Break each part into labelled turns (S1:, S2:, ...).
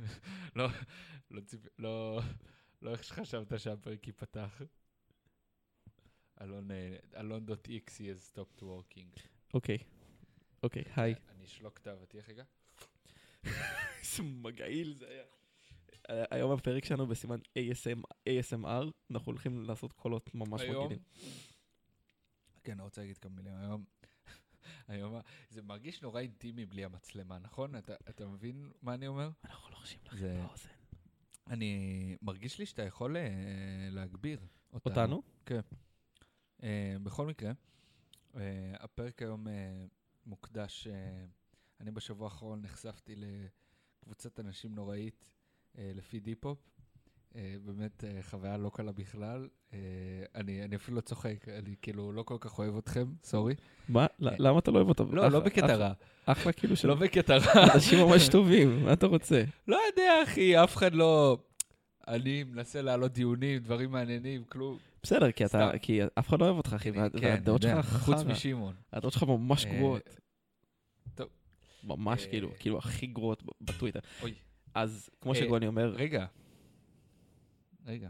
S1: לא, בטח לא, שחשבת שהפרק ייפתח. אלון, אה, אלון דוט איקסי has stopped working.
S2: אוקיי. אוקיי, היי.
S1: אני אשלוק את האבטיח רגע.
S2: איזה מגעיל זה היה. אה, היום הפרק שלנו בסימן ASM, ASMR, אנחנו הולכים לעשות קולות ממש
S1: היום-
S2: מגעילים.
S1: כן, אני רוצה להגיד כמה מילים היום. היום, ה- זה מרגיש נורא אינטימי בלי המצלמה, נכון? אתה, אתה מבין מה אני אומר?
S2: אנחנו לוחשים לכם
S1: זה-
S2: באוזן.
S1: אני מרגיש לי שאתה יכול אה, להגביר אותנו.
S2: אותנו?
S1: אה, בכל מקרה, אה, הפרק היום אה, מוקדש, אה, אני בשבוע האחרון נחשפתי לקבוצת אנשים נוראית אה, לפי דיפ-הופ. אה, באמת אה, חוויה לא קלה בכלל. אה, אני, אני אפילו לא צוחק, אני כאילו לא כל כך אוהב אתכם, סורי.
S2: מה? ל- למה אתה לא אוהב אותם?
S1: לא,
S2: אחלה-
S1: לא בקטע
S2: אחלה-
S1: רע,
S2: אחלה כאילו של
S1: לא בקטע רע.
S2: אנשים ממש טובים, מה אתה רוצה?
S1: לא יודע, אחי, אף אחד לא... אני מנסה להעלות דיונים, דברים מעניינים, כלום.
S2: בסדר, כי אתה,
S1: סתם.
S2: כי אף אחד לא אוהב אותך, אחי,
S1: אני-
S2: וה-
S1: כן,
S2: והדעות
S1: אני יודע,
S2: שלך
S1: חוץ
S2: חרא.
S1: משמעון.
S2: הדעות שלך ממש
S1: אה,
S2: גרועות.
S1: טוב.
S2: ממש
S1: אה,
S2: כאילו, כאילו הכי גרועות ב- בטוויטר.
S1: אוי.
S2: אז כמו
S1: אה,
S2: שגוני אומר,
S1: רגע, רגע.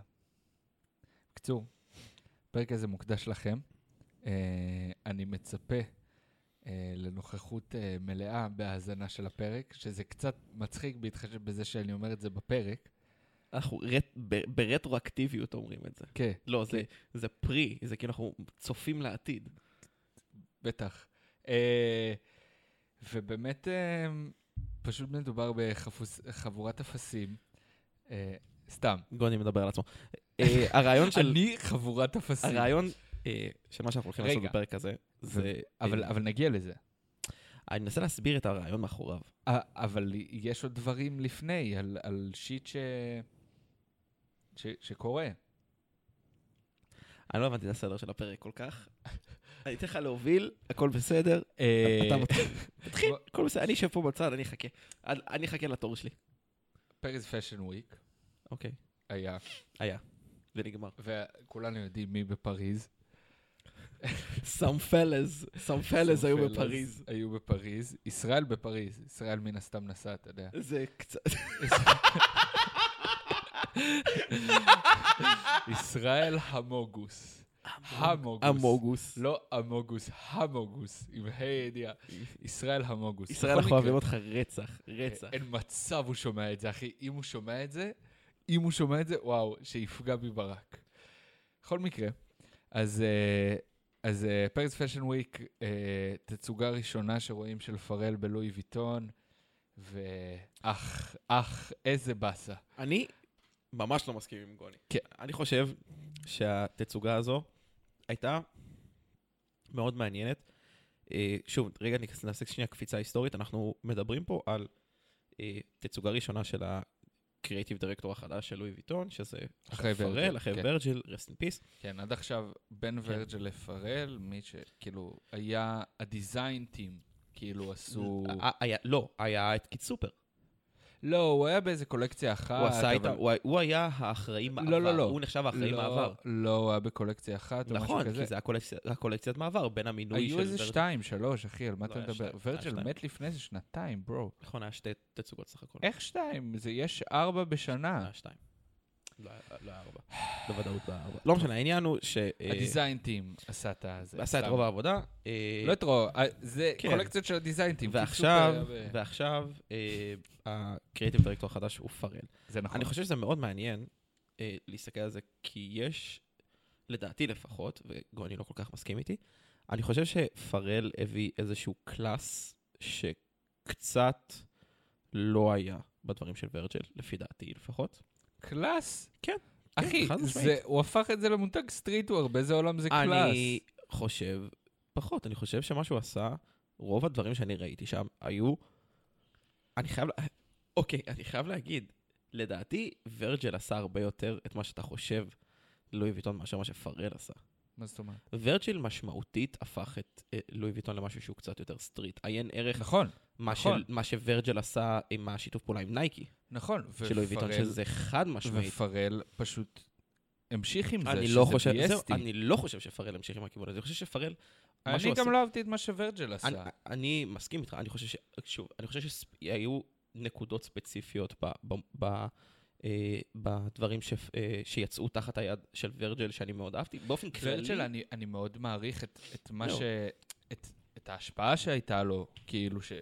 S1: בקיצור, הפרק הזה מוקדש לכם. אה, אני מצפה אה, לנוכחות אה, מלאה בהאזנה של הפרק, שזה קצת מצחיק בהתחשב בזה שאני אומר את זה בפרק.
S2: אנחנו רט- ב- ברטרואקטיביות אומרים את זה.
S1: כן,
S2: לא, זה- זה פרי, זה כאילו אנחנו צופים לעתיד.
S1: בטח. אה, ובאמת, אה, פשוט מדובר בחבורת אפסים. אה, סתם.
S2: גוני מדבר על עצמו. אה, הרעיון של...
S1: אני חבורת אפסים.
S2: הרעיון אה, של מה שאנחנו הולכים לעשות
S1: רגע.
S2: בפרק הזה, זה...
S1: אבל,
S2: אה,
S1: אבל נגיע לזה.
S2: אני מנסה להסביר את הרעיון מאחוריו.
S1: א- אבל יש עוד דברים לפני, על, על שיט ש... ש... שקורה.
S2: אני לא הבנתי את הסדר של הפרק כל כך. אני אתן לך להוביל, הכל בסדר. אתה מתחיל. תתחיל, הכל בסדר. אני אשב פה בצד, אני אחכה. עד- אני אחכה לתור שלי.
S1: פריז פאשן וויק
S2: אוקיי.
S1: היה,
S2: היה. ונגמר.
S1: וכולנו יודעים מי בפריז.
S2: סאם פלז, סאם פלז היו
S1: פלס
S2: בפריז.
S1: היו בפריז. ישראל בפריז. ישראל מן הסתם נסע, אתה יודע.
S2: זה קצת...
S1: ישראל המוגוס. המוגוס.
S2: המוגוס.
S1: לא המוגוס, המוגוס, עם ה' הידיעה. ישראל המוגוס.
S2: ישראל,
S1: בכל
S2: אנחנו
S1: מקרה,
S2: אוהבים אותך רצח, רצח.
S1: אין מצב הוא שומע את זה, אחי. אם הוא שומע את זה, אם הוא שומע את זה, וואו, שיפגע בי ברק. בכל מקרה, אז, אה, אז אה, פרס פאשן וויק, אה, תצוגה ראשונה שרואים של פרל בלואי ויטון, ואח, אח, איזה באסה.
S2: אני ממש לא מסכים עם גוני.
S1: כן.
S2: אני חושב שהתצוגה הזו הייתה מאוד מעניינת. אה, שוב, רגע, נכנס- נעשה שנייה קפיצה היסטורית. אנחנו מדברים פה על אה, תצוגה ראשונה של הקריאיטיב דירקטור החדש של לואי ויטון, שזה
S1: אחרי
S2: פרל,
S1: ורג'יל,
S2: אחרי
S1: כן.
S2: ורג'יל, רסט אין פיס.
S1: כן, עד עכשיו, בין ורג'ל לפרל, מי שכאילו היה הדיזיין טים, כאילו עשו...
S2: לא, היה את קיט סופר.
S1: לא, הוא היה באיזה קולקציה אחת,
S2: הוא עשה איתם,
S1: אה, אבל-
S2: הוא היה- הוא היה האחראי מעבר.
S1: לא, לא.
S2: הוא נחשב האחראי
S1: לא,
S2: מעבר.
S1: לא, הוא היה בקולקציה אחת או משהו
S2: נכון,
S1: כזה.
S2: כי זה הקולקציה- הקולקציית מעבר בין המינוי של...
S1: היו איזה
S2: ורג'יל-
S1: שתיים, שלוש, אחי, על מה
S2: לא,
S1: אתה
S2: היה
S1: מדבר?
S2: שתיים, היה
S1: ורג'ל
S2: שתיים.
S1: מת לפני איזה שנתיים, ברו.
S2: נכון, היה שתי תצוגות סך הכל.
S1: איך שתיים? זה יש ארבע בשנה.
S2: היה שתיים. לא היה לא היה ארבע. בוודאות לא היה ארבע. לא משנה, העניין הוא ש... אה,
S1: הדיזיין טים עשה את הזה.
S2: עשה את רוב העבודה. אה,
S1: לא את רוב, אה, זה
S2: כן.
S1: קולקציות של הדיזיין טים.
S2: ועכשיו,
S1: קיצור, זה היה ב-
S2: ועכשיו, אה, הקריאיטיב דירקטור החדש הוא פארל.
S1: זה נכון.
S2: אני חושב שזה מאוד מעניין אה, להסתכל על זה, כי יש, לדעתי לפחות, וגוני לא כל כך מסכים איתי, אני חושב שפרל הביא איזשהו קלאס שקצת לא היה בדברים של ורג'ל, לפי דעתי לפחות.
S1: קלאס?
S2: כן, כן,
S1: אחי,
S2: חד משמעית.
S1: זה- הוא הפך את זה למותג סטריטוור, באיזה עולם זה קלאס?
S2: אני חושב, פחות, אני חושב שמה שהוא עשה, רוב הדברים שאני ראיתי שם היו, אני חייב, לה- אוקיי, אני חייב להגיד, לדעתי ורג'ל עשה הרבה יותר את מה שאתה חושב, לואי ויטון, מאשר מה שפרל עשה.
S1: מה זאת אומרת?
S2: ורג'ל משמעותית הפך את אה, לואי ויטון למשהו שהוא קצת יותר סטריט. עיין ערך
S1: נכון,
S2: מה,
S1: נכון.
S2: של, מה שורג'ל עשה עם השיתוף פעולה עם נייקי,
S1: נכון.
S2: של לואי ויטון,
S1: ופרל-
S2: שזה חד משמעית.
S1: ופרל פשוט המשיך עם זה,
S2: אני
S1: שזה
S2: לא, חושב, זהו,
S1: ביאסטי.
S2: אני לא חושב שפרל המשיך עם הכיוון הזה, אני חושב שפרל... מה
S1: אני
S2: שהוא עשה-
S1: גם לא אהבתי את מה שורג'ל עשה.
S2: אני, אני מסכים איתך, אני חושב ש... שוב, אני חושב שהיו נקודות ספציפיות ב, ב, ב, אה, בדברים ש, אה, שיצאו תחת היד של ורג'ל, שאני מאוד אהבתי. באופן כללי...
S1: ורג'ל, אני, אני מאוד מעריך את, את מה
S2: לא.
S1: ש... את, את ההשפעה שהייתה לו, כאילו ש...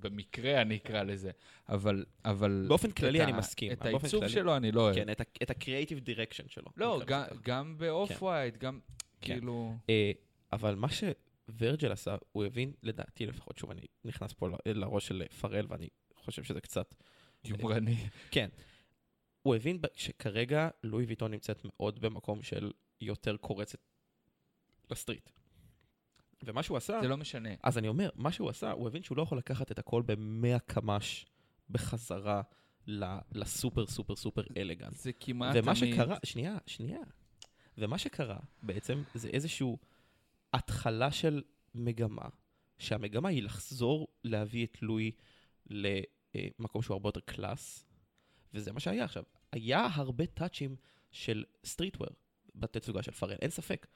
S1: במקרה אני אקרא לזה, אבל... אבל
S2: באופן כללי
S1: את
S2: אני
S1: ה-
S2: מסכים. אה,
S1: את
S2: באופן
S1: העיצוב
S2: כללי.
S1: שלו אני לא אוהב.
S2: כן, את ה- את ה-creative direction שלו.
S1: לא, גם-
S2: נקרא לזה ככה. כן.
S1: גם באוף ווייד, גם כאילו...
S2: אה, אבל מה שוורג'ל עשה, הוא הבין, לדעתי לפחות, שוב, אני נכנס פה ל- לראש של פרל, ואני חושב שזה קצת...
S1: יומרני.
S2: הוא הבין ב- שכרגע לואי ויטון נמצאת מאוד במקום של יותר קורצת לסטריט. ומה שהוא עשה...
S1: זה לא משנה.
S2: אז אני אומר, מה שהוא עשה, הוא הבין שהוא לא יכול לקחת את הכל במאה קמ"ש בחזרה ל- לסופר סופר סופר אלגנט.
S1: זה כמעט תמיד...
S2: ומה שקרה, שנייה, שנייה. ומה שקרה בעצם זה איזשהו התחלה של מגמה, שהמגמה היא לחזור להביא את לואי למקום שהוא הרבה יותר קלאס, וזה מה שהיה עכשיו. היה הרבה טאצ'ים של סטריטוור בתצוגה של פארל, אין ספק.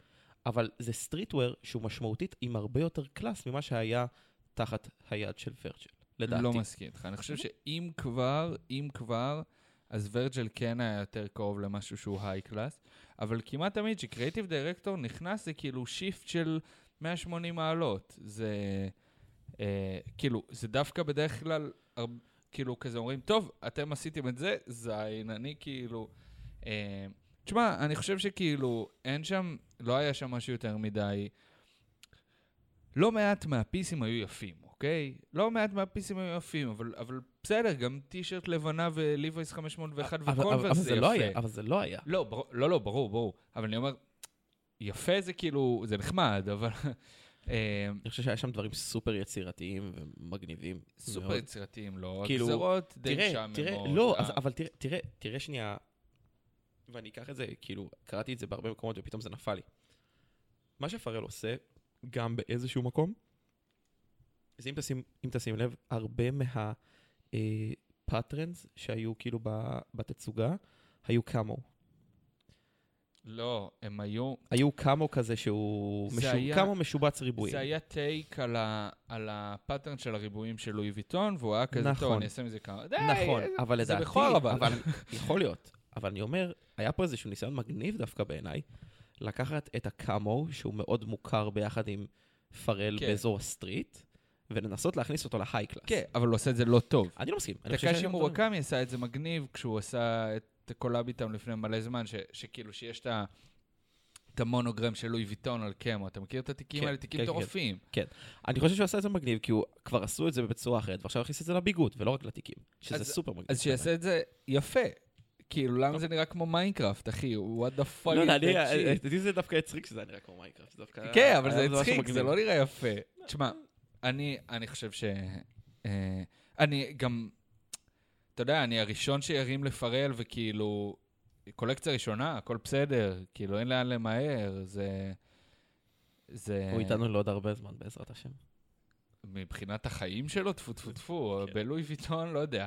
S2: אבל זה סטריטוור שהוא משמעותית עם הרבה יותר קלאס ממה שהיה תחת היד של ורג'ל, לדעתי.
S1: לא מסכים איתך. אני חושב שאם כבר, אם כבר, אז ורג'ל כן היה יותר קרוב למשהו שהוא היי קלאס, אבל כמעט תמיד שקריאיטיב דירקטור נכנס זה כאילו שיפט של 180 מעלות. זה אה, כאילו, זה דווקא בדרך כלל, הרב, כאילו כזה אומרים, טוב, אתם עשיתם את זה, זין, אני כאילו... אה, תשמע, אני חושב שכאילו, אין שם, לא היה שם משהו יותר מדי. לא מעט מהפיסים היו יפים, אוקיי? לא מעט מהפיסים היו יפים, אבל, אבל בסדר, גם טישרט לבנה וליוויס 501
S2: אבל- אבל- אבל
S1: וקונברס זה
S2: זה
S1: יפה.
S2: לא היה, אבל זה לא היה.
S1: לא, ברור, לא, לא, ברור, ברור. אבל אני אומר, יפה זה כאילו, זה נחמד, אבל... אה,
S2: אני חושב שהיה שם דברים סופר יצירתיים ומגניבים.
S1: סופר
S2: מאוד.
S1: יצירתיים, לא?
S2: כאילו,
S1: הגזרות די
S2: תראה,
S1: משעממות.
S2: תראה, לא,
S1: אה,
S2: אז, אבל תראה, תראה, תראה שנייה, ואני אקח את זה, כאילו, קראתי את זה בהרבה מקומות ופתאום זה נפל לי. מה שפרל עושה, גם באיזשהו מקום, אז אם תשים, אם תשים לב, הרבה מה... אה, פטרנס שהיו כאילו ב- בתצוגה, היו קאמו.
S1: לא, הם היו...
S2: היו קאמו כזה שהוא...
S1: זה
S2: משו,
S1: היה-
S2: קאמו משובץ ריבועים.
S1: זה היה טייק על ה- על הפאטרן של הריבועים של לואי ויטון, והוא היה כזה, טוב,
S2: נכון.
S1: אני אעשה מזה כמה... די,
S2: נכון,
S1: איזה-
S2: אבל
S1: זה
S2: לדעתי...
S1: בכור אבל.
S2: יכול להיות. אבל אני אומר, היה פה איזשהו ניסיון מגניב דווקא בעיניי, לקחת את הקאמו, שהוא מאוד מוכר ביחד עם פרל
S1: כן.
S2: באזור הסטריט, ולנסות להכניס אותו להיי קלאס.
S1: כן, אבל הוא עושה את זה לא טוב.
S2: אני לא מסכים. אני חושב שיש
S1: תקאשי
S2: גם דברים.
S1: מורקמי עשה את זה מגניב כשהוא עשה את הקולאב איתם לפני מלא זמן, ש- שכאילו שיש את ה... את המונוגרם של לואי ויטון על קמו, אתה מכיר את התיקים
S2: כן,
S1: האלה? תיקים
S2: כן, כן.
S1: מטורפים.
S2: אני חושב שהוא עשה את זה מגניב, כי הוא כבר עשו את זה בצורה אחרת, ועכשיו הכניס את זה לביגוד, ולא רק לתיקים, שזה
S1: אז-
S2: סופר מגניב. לא,
S1: אז שיעשה את זה יפה. כאילו, למה זה נראה כמו מיינקראפט, אחי? What the fuck
S2: לא,
S1: is
S2: לא,
S1: that
S2: אני-
S1: shit?
S2: אותי זה דווקא הצחיק שזה נראה כמו מייקראפט. זה דווקא-
S1: כן, אבל זה
S2: היה משהו
S1: הצחיק, זה
S2: מגניב.
S1: לא נראה יפה. תשמע, אני, אני חושב ש... אה, אני גם... אתה יודע, אני הראשון שירים לפרל, וכאילו... קולקציה ראשונה, הכל בסדר. כאילו, אין לאן למהר, זה... זה...
S2: הוא איתנו לעוד הרבה זמן, בעזרת השם.
S1: מבחינת החיים שלו, טפו טפו טפו,
S2: כן.
S1: בלואי ויטון, לא יודע.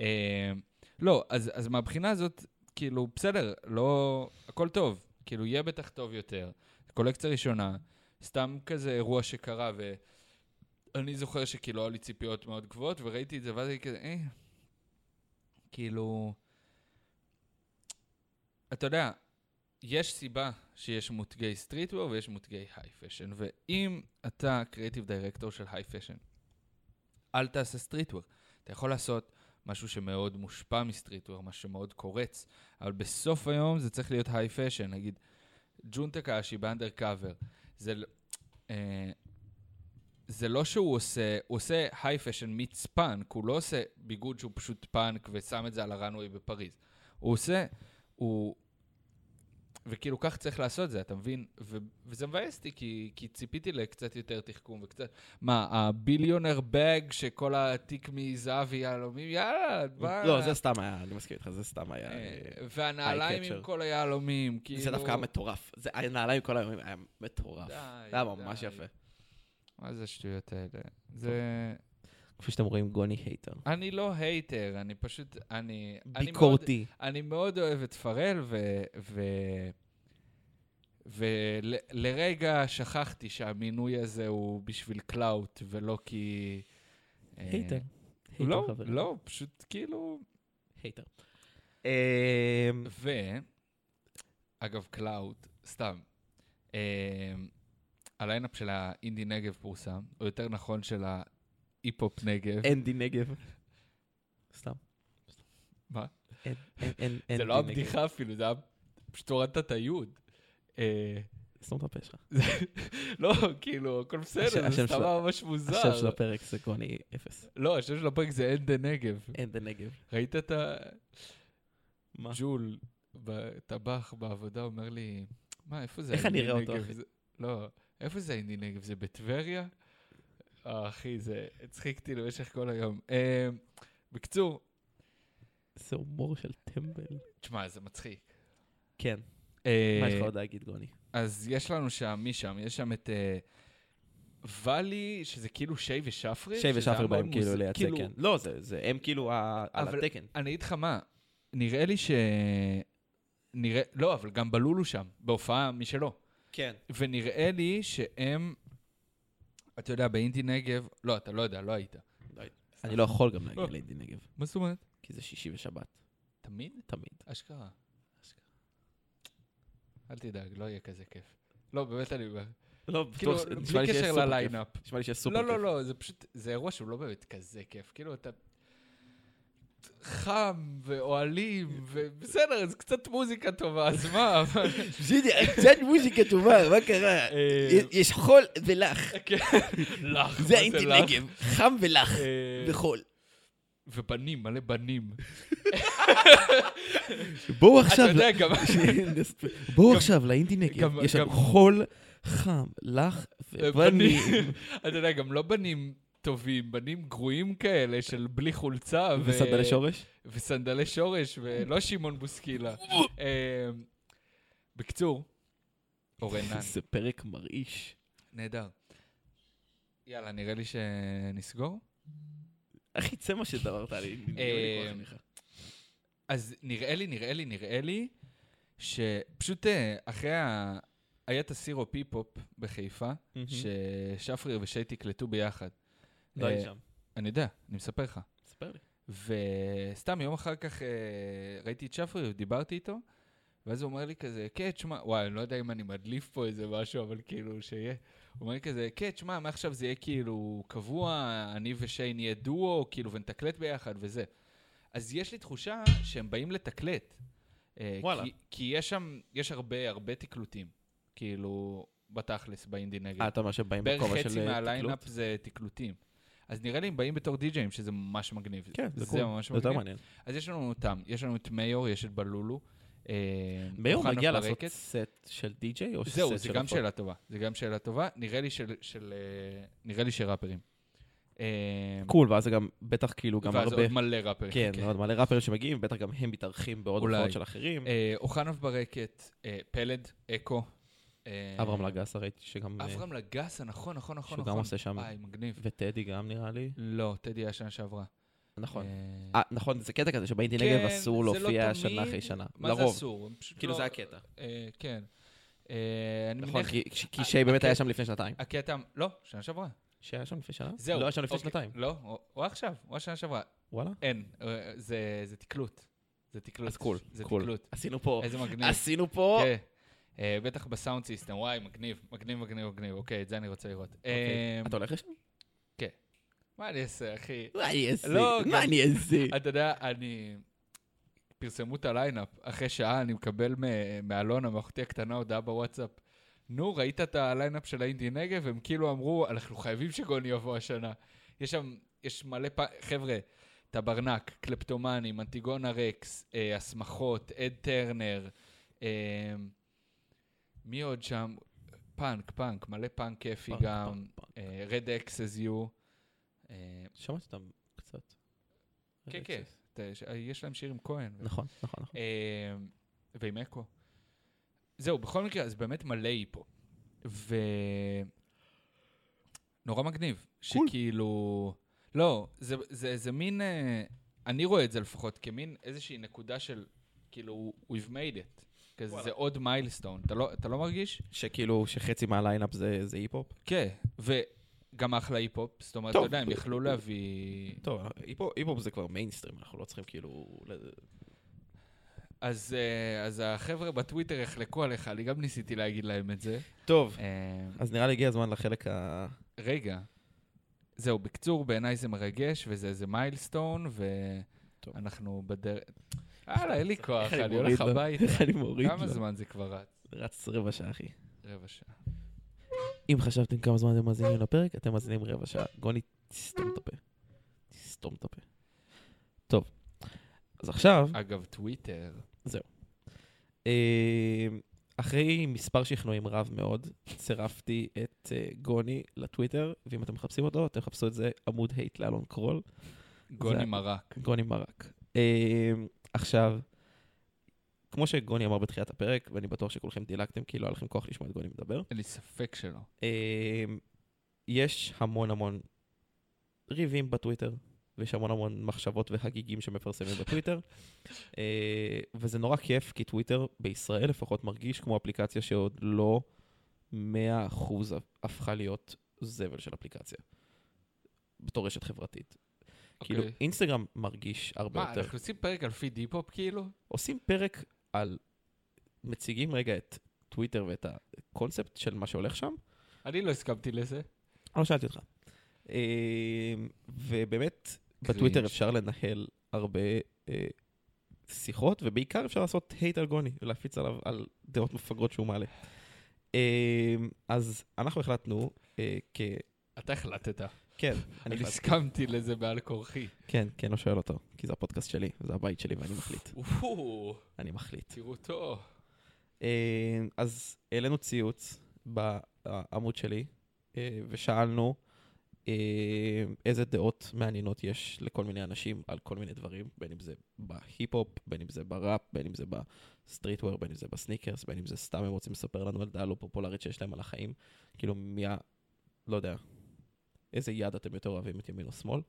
S1: אה, לא, אז, אז מהבחינה הזאת, כאילו, בסדר, לא, הכל טוב. כאילו, יהיה בטח טוב יותר. קולקציה ראשונה, סתם כזה אירוע שקרה, ואני זוכר שכאילו היו לי ציפיות מאוד גבוהות, וראיתי את זה, ואז הייתי כזה, אה, כאילו... אתה יודע, יש סיבה שיש מותגי סטריטוור ויש מותגי היי פשן, ואם אתה קריאיטיב דירקטור של היי פשן, אל תעשה סטריטוור. אתה יכול לעשות משהו שמאוד מושפע מסטריטוור, משהו שמאוד קורץ, אבל בסוף היום זה צריך להיות היי פשן, נגיד ג'ון טקאשי באנדר קאבר, זה... ל- אה, זה לא שהוא עושה, הוא עושה היי פשן מיץ פאנק, הוא לא עושה ביגוד שהוא פשוט פאנק ושם את זה על הראנווי בפריז. הוא עושה, הוא... וכאילו כך צריך לעשות זה, אתה מבין? ו- וזה מבאס אותי, כי, כי ציפיתי לקצת יותר תחכום וקצת... מה, הביליונר בג שכל התיק מזהב יהלומים? יאללה, מה?
S2: לא, זה סתם היה, אני מסכים איתך, זה סתם היה...
S1: אה,
S2: אה,
S1: והנעליים עם
S2: eye catcher.
S1: כל היהלומים, כאילו...
S2: זה דווקא היה מטורף. זה היה נעליים כל הימים, היה מטורף.
S1: די,
S2: זה היה ממש
S1: די.
S2: יפה.
S1: מה זה השטויות האלה? זה...
S2: כפי שאתם רואים, גוני הייטר.
S1: אני לא הייטר, אני פשוט... אני... אני מאוד-
S2: ביקורתי.
S1: אני מאוד אוהב את פרל, ו... ו... ולרגע שכחתי שהמינוי הזה הוא בשביל קלאוט, ולא כי... אה,
S2: הייטר.
S1: לא, לא, פשוט כאילו...
S2: הייטר. אמ,
S1: ו... אגב, קלאוד, סתם. אמ, הליינאפ של האינדי נגב פורסם, או יותר נכון של ההיפ-הופ נגב.
S2: אנדי נגב. סתם.
S1: מה?
S2: אין- אין- אין-
S1: זה
S2: אנדי
S1: לא
S2: נגב.
S1: הבדיחה אפילו, זה היה... פשוט הורדת את היוד. אה,
S2: סתום את הפה שלך.
S1: לא, כאילו, הכל בסדר,
S2: השם
S1: זה
S2: שלו-
S1: סתם היה ממש מוזר.
S2: השם של הפרק זה גוני אפס.
S1: לא, השם של הפרק זה אנדה נגב.
S2: אנדי נגב.
S1: ראית את ה...
S2: מה?
S1: ג'ול, בטבח בעבודה, אומר לי, מה, איפה זה
S2: איך אני
S1: האינדי
S2: אראה אותו,
S1: נגב?
S2: אחי?"
S1: זה- לא, איפה זה האינדי נגב? זה בטבריה? אה, אחי, זה... הצחיקתי למשך כל היום. אה, בקיצור,
S2: זה הומור של טמבל.
S1: תשמע, זה מצחיק.
S2: כן.
S1: אה,
S2: מה יש לך עוד להגיד, גוני?
S1: אז יש לנו שם, מי שם? יש שם את אה, ואלי, שזה כאילו שי ושפרי.
S2: שי
S1: שזה
S2: ושפר
S1: היה מאוד
S2: באים כאילו
S1: מוז-
S2: לייצג,
S1: כאילו,
S2: כן. לא, זה- זה, הם כאילו ה- על
S1: אבל-
S2: התקן.
S1: אני אגיד לך מה, נראה לי ש... נראה... לא, אבל גם בלולו שם, בהופעה משלו.
S2: כן.
S1: ונראה לי שהם, אתה יודע, באינדי נגב, לא, אתה לא יודע, לא היית.
S2: אני לא יכול גם
S1: לא.
S2: להגיע לאינדי נגב,
S1: מה זאת אומרת?
S2: כי זה שישי ושבת,
S1: תמיד?
S2: תמיד.
S1: אשכרה. אשכרה. אל תדאג, לא יהיה כזה כיף. לא, באמת אני אומר.
S2: לא,
S1: כאילו,
S2: בטוח- נשמע
S1: בלי
S2: לי שיש
S1: קשר
S2: סופר כיף.
S1: לליינאפ.
S2: נשמע לי שיש סופר
S1: לא,
S2: כיף.
S1: לא, לא, זה פשוט, זה אירוע שהוא לא באמת כזה כיף. כאילו, אתה חם ואוהלים, ובסדר, אז קצת מוזיקה טובה, אז מה? אבל-
S2: בסדר, קצת מוזיקה טובה, מה קרה?
S1: אה,
S2: יש חול ולח.
S1: כן. לך, מה לך?
S2: חם ולח,
S1: אה,
S2: וחול.
S1: ובנים, מלא בנים.
S2: בואו
S1: אתה
S2: עכשיו,
S1: יודע, גם...
S2: בואו
S1: גם-
S2: עכשיו לאינדי נגב,
S1: גם-
S2: יש
S1: גם-
S2: לנו חול, חם, לח ובנים.
S1: אתה יודע, גם לא בנים טובים, בנים גרועים כאלה של בלי חולצה. ו-
S2: וסדלי שורש?
S1: וסנדלי שורש, ולא שמעון בוסקילה. אה, בקיצור, אורנן,
S2: זה פרק מרעיש.
S1: נהדר. יאללה, נראה לי שנסגור.
S2: אחי, זה מה שדברת על אינדי נגב, אני
S1: אה,
S2: כוח עליך.
S1: אז נראה לי, נראה לי, נראה לי, שפשוט אה, אחרי ה... היה את הסירו פי-פופ בחיפה, ששפריר ושי תקלטו ביחד.
S2: לא הייתי
S1: אה,
S2: שם,
S1: אני יודע, אני מספר לך.
S2: ספר לי.
S1: וסתם יום אחר כך אה, ראיתי את שפרי ודיברתי איתו, ואז הוא אומר לי כזה, כן, תשמע, וואי, אני לא יודע אם אני מדליף פה איזה משהו, אבל כאילו, שיהיה. הוא אומר לי כזה, כן, תשמע, מעכשיו זה יהיה כאילו קבוע, אני ושיין נהיה דואו, כאילו, ונתקלט ביחד וזה. אז יש לי תחושה שהם באים לתקלט. אה,
S2: וואלה.
S1: כי, כי יש שם, יש הרבה, הרבה תקלוטים, כאילו, בתכלס, באינדי נגד.
S2: אה, אתה אומר שבאים
S1: בערך
S2: בכובע של
S1: חצי
S2: אה,
S1: מהליינאפ
S2: תקלוט?
S1: זה תקלוטים. אז נראה לי הם באים בתור די-ג'אים, שזה ממש מגניב.
S2: כן, זה
S1: זה
S2: קול.
S1: ממש
S2: זה יותר
S1: מגניב.
S2: מעניין.
S1: אז יש לנו אותם, יש לנו את מאיור, יש את בלולו. אה,
S2: מאיר
S1: אוחנה
S2: מגיע לעשות
S1: ברקת.
S2: סט של די-ג'יי או סט של...
S1: זהו, זה גם
S2: הופעות?
S1: שאלה טובה. זה גם שאלה טובה. נראה לי של... של אה, נראה לי שראפרים. אה,
S2: קול, ואז זה גם, בטח כאילו גם
S1: ואז
S2: הרבה...
S1: עוד מלא ראפרים.
S2: כן, עוד מלא ראפרים שמגיעים, בטח גם הם מתארחים בעוד
S1: אולי.
S2: הופעות של אחרים.
S1: אה, אוחנוב ברקת, אה, פלד, אקו. אה,
S2: אברהם לגסה ראיתי שגם... אה,
S1: אברהם לגסה, נכון, נכון, נכון.
S2: שהוא גם
S1: נכון.
S2: עושה שם.
S1: וואי, מגניב.
S2: וטדי גם נראה לי.
S1: לא, טדי היה שנה שעברה.
S2: נכון.
S1: אה,
S2: אה, נכון, זה קטע כזה שבאינדי
S1: כן,
S2: נגב אסור
S1: זה לא
S2: להופיע
S1: תמיד.
S2: שנה אחרי שנה.
S1: מה זה
S2: לרוב.
S1: אסור? הם פשוט
S2: כאילו
S1: לא-
S2: זה הקטע.
S1: אה, כן. אה, אני
S2: נכון,
S1: מניח...
S2: כי- כי- כי
S1: אה,
S2: שי באמת
S1: הקטע-
S2: היה שם לפני שנתיים.
S1: הקטע... לא, שנה שעברה.
S2: שי היה שם לפני שנה?
S1: זהו.
S2: לא היה שם לפני
S1: אוקיי.
S2: שנתיים.
S1: לא, או- או עכשיו, או השנה שעברה.
S2: וואלה?
S1: אין, אה, זה זה תקלוט. זה תקלוט.
S2: אז קול,
S1: זה
S2: קול.
S1: תקלוט.
S2: עשינו פה...
S1: איזה מגניב.
S2: עשינו פה... אוקיי.
S1: כן. אה, בטח בסאונד סיסטם, וואי, מגניב, מגניב, מגניב, מגניב. אוקיי, את זה אני רוצה לראות.
S2: אוקיי.
S1: אה,
S2: אתה הולך לשם?
S1: מה אני אעשה, אחי?
S2: מה אני אעשה?
S1: לא, גם-
S2: מה אני אעשה?
S1: אתה יודע, אני... פרסמו את הליינאפ, אחרי שעה אני מקבל מ- מאלונה, מאחותי הקטנה, הודעה בוואטסאפ. נו, ראית את הליינאפ של האינדי נגב? הם כאילו אמרו, אנחנו חייבים שגוני יבוא השנה. יש שם, יש מלא פ... חבר'ה, טברנק, קלפטומנים, אנטיגונה רקס, אה, הסמכות, אד טרנר, אה, מי עוד שם? פאנק, פאנק, מלא פאנק כיפי
S2: פאנק,
S1: גם, אה,
S2: פאנק, פאנק.
S1: רד אקסס יו. אה,
S2: שמעתי אותם קצת.
S1: כן, כן, ת- ש- יש להם שיר עם כהן.
S2: נכון, נכון, נכון.
S1: אה, ועם אקו. זהו, בכל מקרה, אז באמת מלא היפו. ו... נורא מגניב.
S2: קול.
S1: שכאילו... לא, זה, זה, זה מין... אה, אני רואה את זה לפחות כמין איזושהי נקודה של, כאילו, we've made it. כזה,
S2: וואלה.
S1: זה עוד מיילסטון. אתה לא, אתה לא מרגיש?
S2: שכאילו, שחצי מהליינאפ זה זה היפ-הופ?
S1: כן, וגם אחלה היפ-הופ. זאת אומרת,
S2: טוב.
S1: אתה יודע, הם יכלו להביא...
S2: טוב, היפ-הופ היפ-הופ זה כבר מיינסטרים, אנחנו לא צריכים כאילו... ל-
S1: אז, אה, אז החבר'ה בטוויטר יחלקו עליך, אני גם ניסיתי להגיד להם את זה.
S2: טוב,
S1: אה,
S2: אז נראה לי הגיע הזמן לחלק ה...
S1: רגע, זהו, בקצור, בעיניי זה מרגש, וזה איזה מיילסטון,
S2: טוב.
S1: ואנחנו בדרך... יאללה, אין לי כוח,
S2: איך אני
S1: אני
S2: מוריד
S1: הולך
S2: לו?
S1: הביתה.
S2: איך אני מוריד
S1: כמה
S2: לו?
S1: זמן זה כבר רץ?
S2: רץ רבע שעה, אחי.
S1: רבע שעה.
S2: אם חשבתם כמה זמן אתם מאזינים לפרק, אתם מאזינים רבע שעה. גוני, תסתום את הפה. תסתום את הפה. טוב, אז עכשיו,
S1: אגב, טוויטר.
S2: אה, אחרי מספר שכנועים רב מאוד, צירפתי את אה, גוני לטוויטר, ואם אתם מחפשים אותו, אתם חפשו את זה עמוד הייט לאלון קרול.
S1: גוני
S2: זה-
S1: מרק.
S2: גוני מרק. אה, עכשיו, כמו שגוני אמר בתחילת הפרק, ואני בטוח שכולכם דילגתם, כי לא היה לכם כוח לשמוע את גוני מדבר,
S1: אין לי ספק שלא.
S2: אה, יש המון המון ריבים בטוויטר, ויש המון המון מחשבות וחגיגים שמפרסמים בטוויטר, אה, וזה נורא כיף, כי טוויטר בישראל לפחות מרגיש כמו אפליקציה שעוד לא 100% הפכה להיות זבל של אפליקציה, בתור רשת חברתית. כאילו,
S1: אוקיי.
S2: אינסטגרם מרגיש הרבה
S1: מה,
S2: יותר.
S1: אנחנו עושים פרק על פי דיפ-הופ כאילו?
S2: עושים פרק על... מציגים רגע את טוויטר ואת הקונספט של מה שהולך שם,
S1: אני לא הסכמתי לזה.
S2: לא שאלתי אותך. אמ, ובאמת, בטוויטר אפשר לנהל הרבה אה, שיחות, ובעיקר אפשר לעשות הייט על גוני, ולהפיץ עליו על דעות מפגרות שהוא מעלה. אמ, אז אנחנו החלטנו, אה, כ...
S1: אתה החלטת.
S2: כן, אני
S1: אני
S2: החלטתי,
S1: הסכמתי לזה בעל כורחי.
S2: כן, כן, לא שואל אותו, כי זה הפודקאסט שלי, זה הבית שלי ואני מחליט.
S1: אופו,
S2: אני מחליט.
S1: תראו אותו.
S2: אה, אז העלינו ציוץ בעמוד שלי, אה, ושאלנו אה, איזה דעות מעניינות יש לכל מיני אנשים על כל מיני דברים, בין אם זה בהיפ-הופ, בין אם זה בראפ, בין אם זה בסטריטוור, בין אם זה בסניקרס, בין אם זה סתם הם רוצים לספר לנו על דעה לא פופולרית שיש להם על החיים. כאילו, מי ה... לא יודע. איזה יד אתם יותר אוהבים, את ימין או שמאל.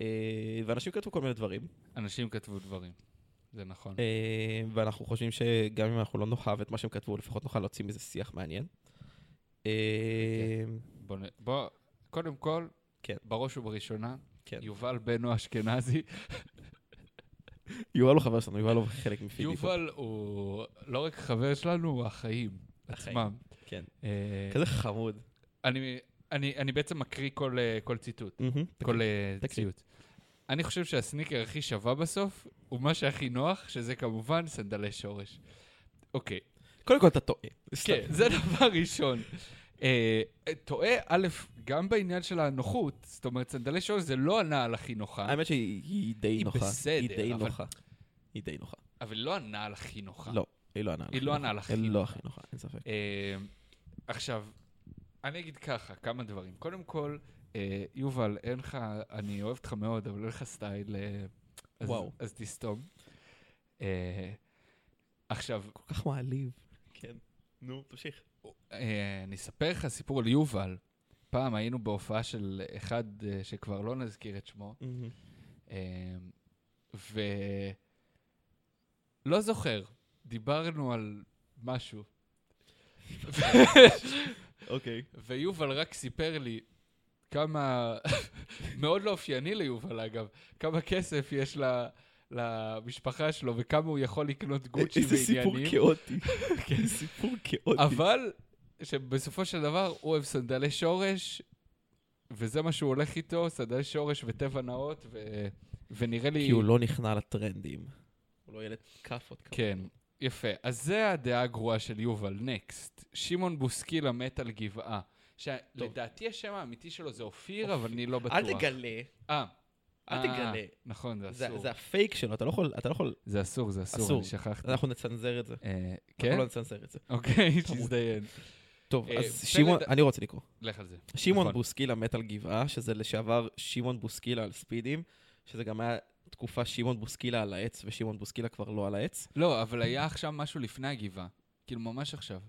S2: אה, ואנשים כתבו כל מיני דברים.
S1: אנשים כתבו דברים. זה נכון.
S2: אה, ואנחנו חושבים שגם אם אנחנו לא נאהב את מה שהם כתבו, לפחות נוכל להוציא מזה שיח מעניין. אה,
S1: בוא, נ- בוא, קודם כל,
S2: כן.
S1: בראש ובראשונה,
S2: כן.
S1: יובל בנו אשכנזי.
S2: יובל הוא חבר שלנו, יובל הוא חלק מפידיפו.
S1: יובל הוא לא רק חבר שלנו, הוא החיים
S2: החיים,
S1: עצמם.
S2: כן.
S1: אה,
S2: כזה חמוד.
S1: אני- אני אני בעצם מקריא כל, אה, כל ציטוט,
S2: מהמם.
S1: כל אה,
S2: תקריא.
S1: ציוץ. אני חושב שהסניקר הכי שווה בסוף, הוא מה שהכי נוח, שזה כמובן סנדלי שורש. אוקיי,
S2: כאילו- קודם כל אתה טועה.
S1: כן,
S2: סתם.
S1: זה דבר ראשון. אה, טועה, א', גם בעניין של הנוחות, זאת אומרת, סנדלי שורש זה לא הנעל הכי נוחה,
S2: האמת שהיא היא די
S1: היא
S2: נוחה.
S1: בסדר,
S2: די
S1: אבל-
S2: נוחה. היא די נוחה.
S1: אבל לא הנעל הכי נוחה.
S2: לא, היא לא ענה לך.
S1: היא לא הנעל הכי
S2: היא לא
S1: נוחה.
S2: הכי נוחה, אין ספק.
S1: אה, עכשיו, אני אגיד ככה, כמה דברים. קודם כל, אה, יובל, אין לך, אני אוהב אותך מאוד, אבל אין לך סטייל, אה, אז-
S2: וואו.
S1: אז תסתום. אה, עכשיו,
S2: כל כך מעליב. כן. נו, תמשיך.
S1: אה, אני אספר לך סיפור על יובל. פעם היינו בהופעה של אחד אה, שכבר לא נזכיר את שמו, אמ, ו... לא זוכר, דיברנו על משהו,
S2: אוקיי.
S1: ויובל רק סיפר לי כמה, מאוד לא אופייני ליובל אגב, כמה כסף יש ל... למשפחה שלו וכמה הוא יכול לקנות גוצ'י
S2: אה, איזה סיפור
S1: ועניינים,
S2: כאוטי. כן, סיפור כאוטי.
S1: אבל שבסופו של דבר הוא אוהב סנדלי שורש, וזה מה שהוא הולך איתו, סנדלי שורש וטבע נאות, ו... ונראה לי...
S2: כי הוא לא נכנע לטרנדים. הוא לא ילד כאפות כמובן.
S1: כן, יפה. אז זה הדעה הגרועה של יובל, נקסט. שמעון בוסקילה מת על גבעה. שלדעתי השם האמיתי שלו זה אופיר, אבל אני לא בטוח.
S2: אל תגלה,
S1: אה.
S2: אל
S1: אה,
S2: תגלה.
S1: נכון, זה
S2: זה,
S1: אסור.
S2: זה הפייק שלו, אתה לא יכול, אתה לא יכול,
S1: זה אסור, זה אסור,
S2: אסור.
S1: אני שכחתי.
S2: אנחנו נצנזר את זה.
S1: אה,
S2: אנחנו
S1: כן?
S2: לא נצנזר את זה.
S1: אוקיי,
S2: חמוד.
S1: תזדיין.
S2: טוב,
S1: אה,
S2: אז
S1: פלד-
S2: שמעון, אני רוצה לקרוא.
S1: לך על זה.
S2: שמעון
S1: נכון.
S2: בוסקילה מת על גבעה, שזה לשעבר שמעון בוסקילה על ספידים, שזה גם היה תקופה שמעון בוסקילה על העץ, ושמעון בוסקילה כבר לא על העץ.
S1: לא, אבל היה עכשיו משהו לפני הגבעה. כאילו, ממש עכשיו.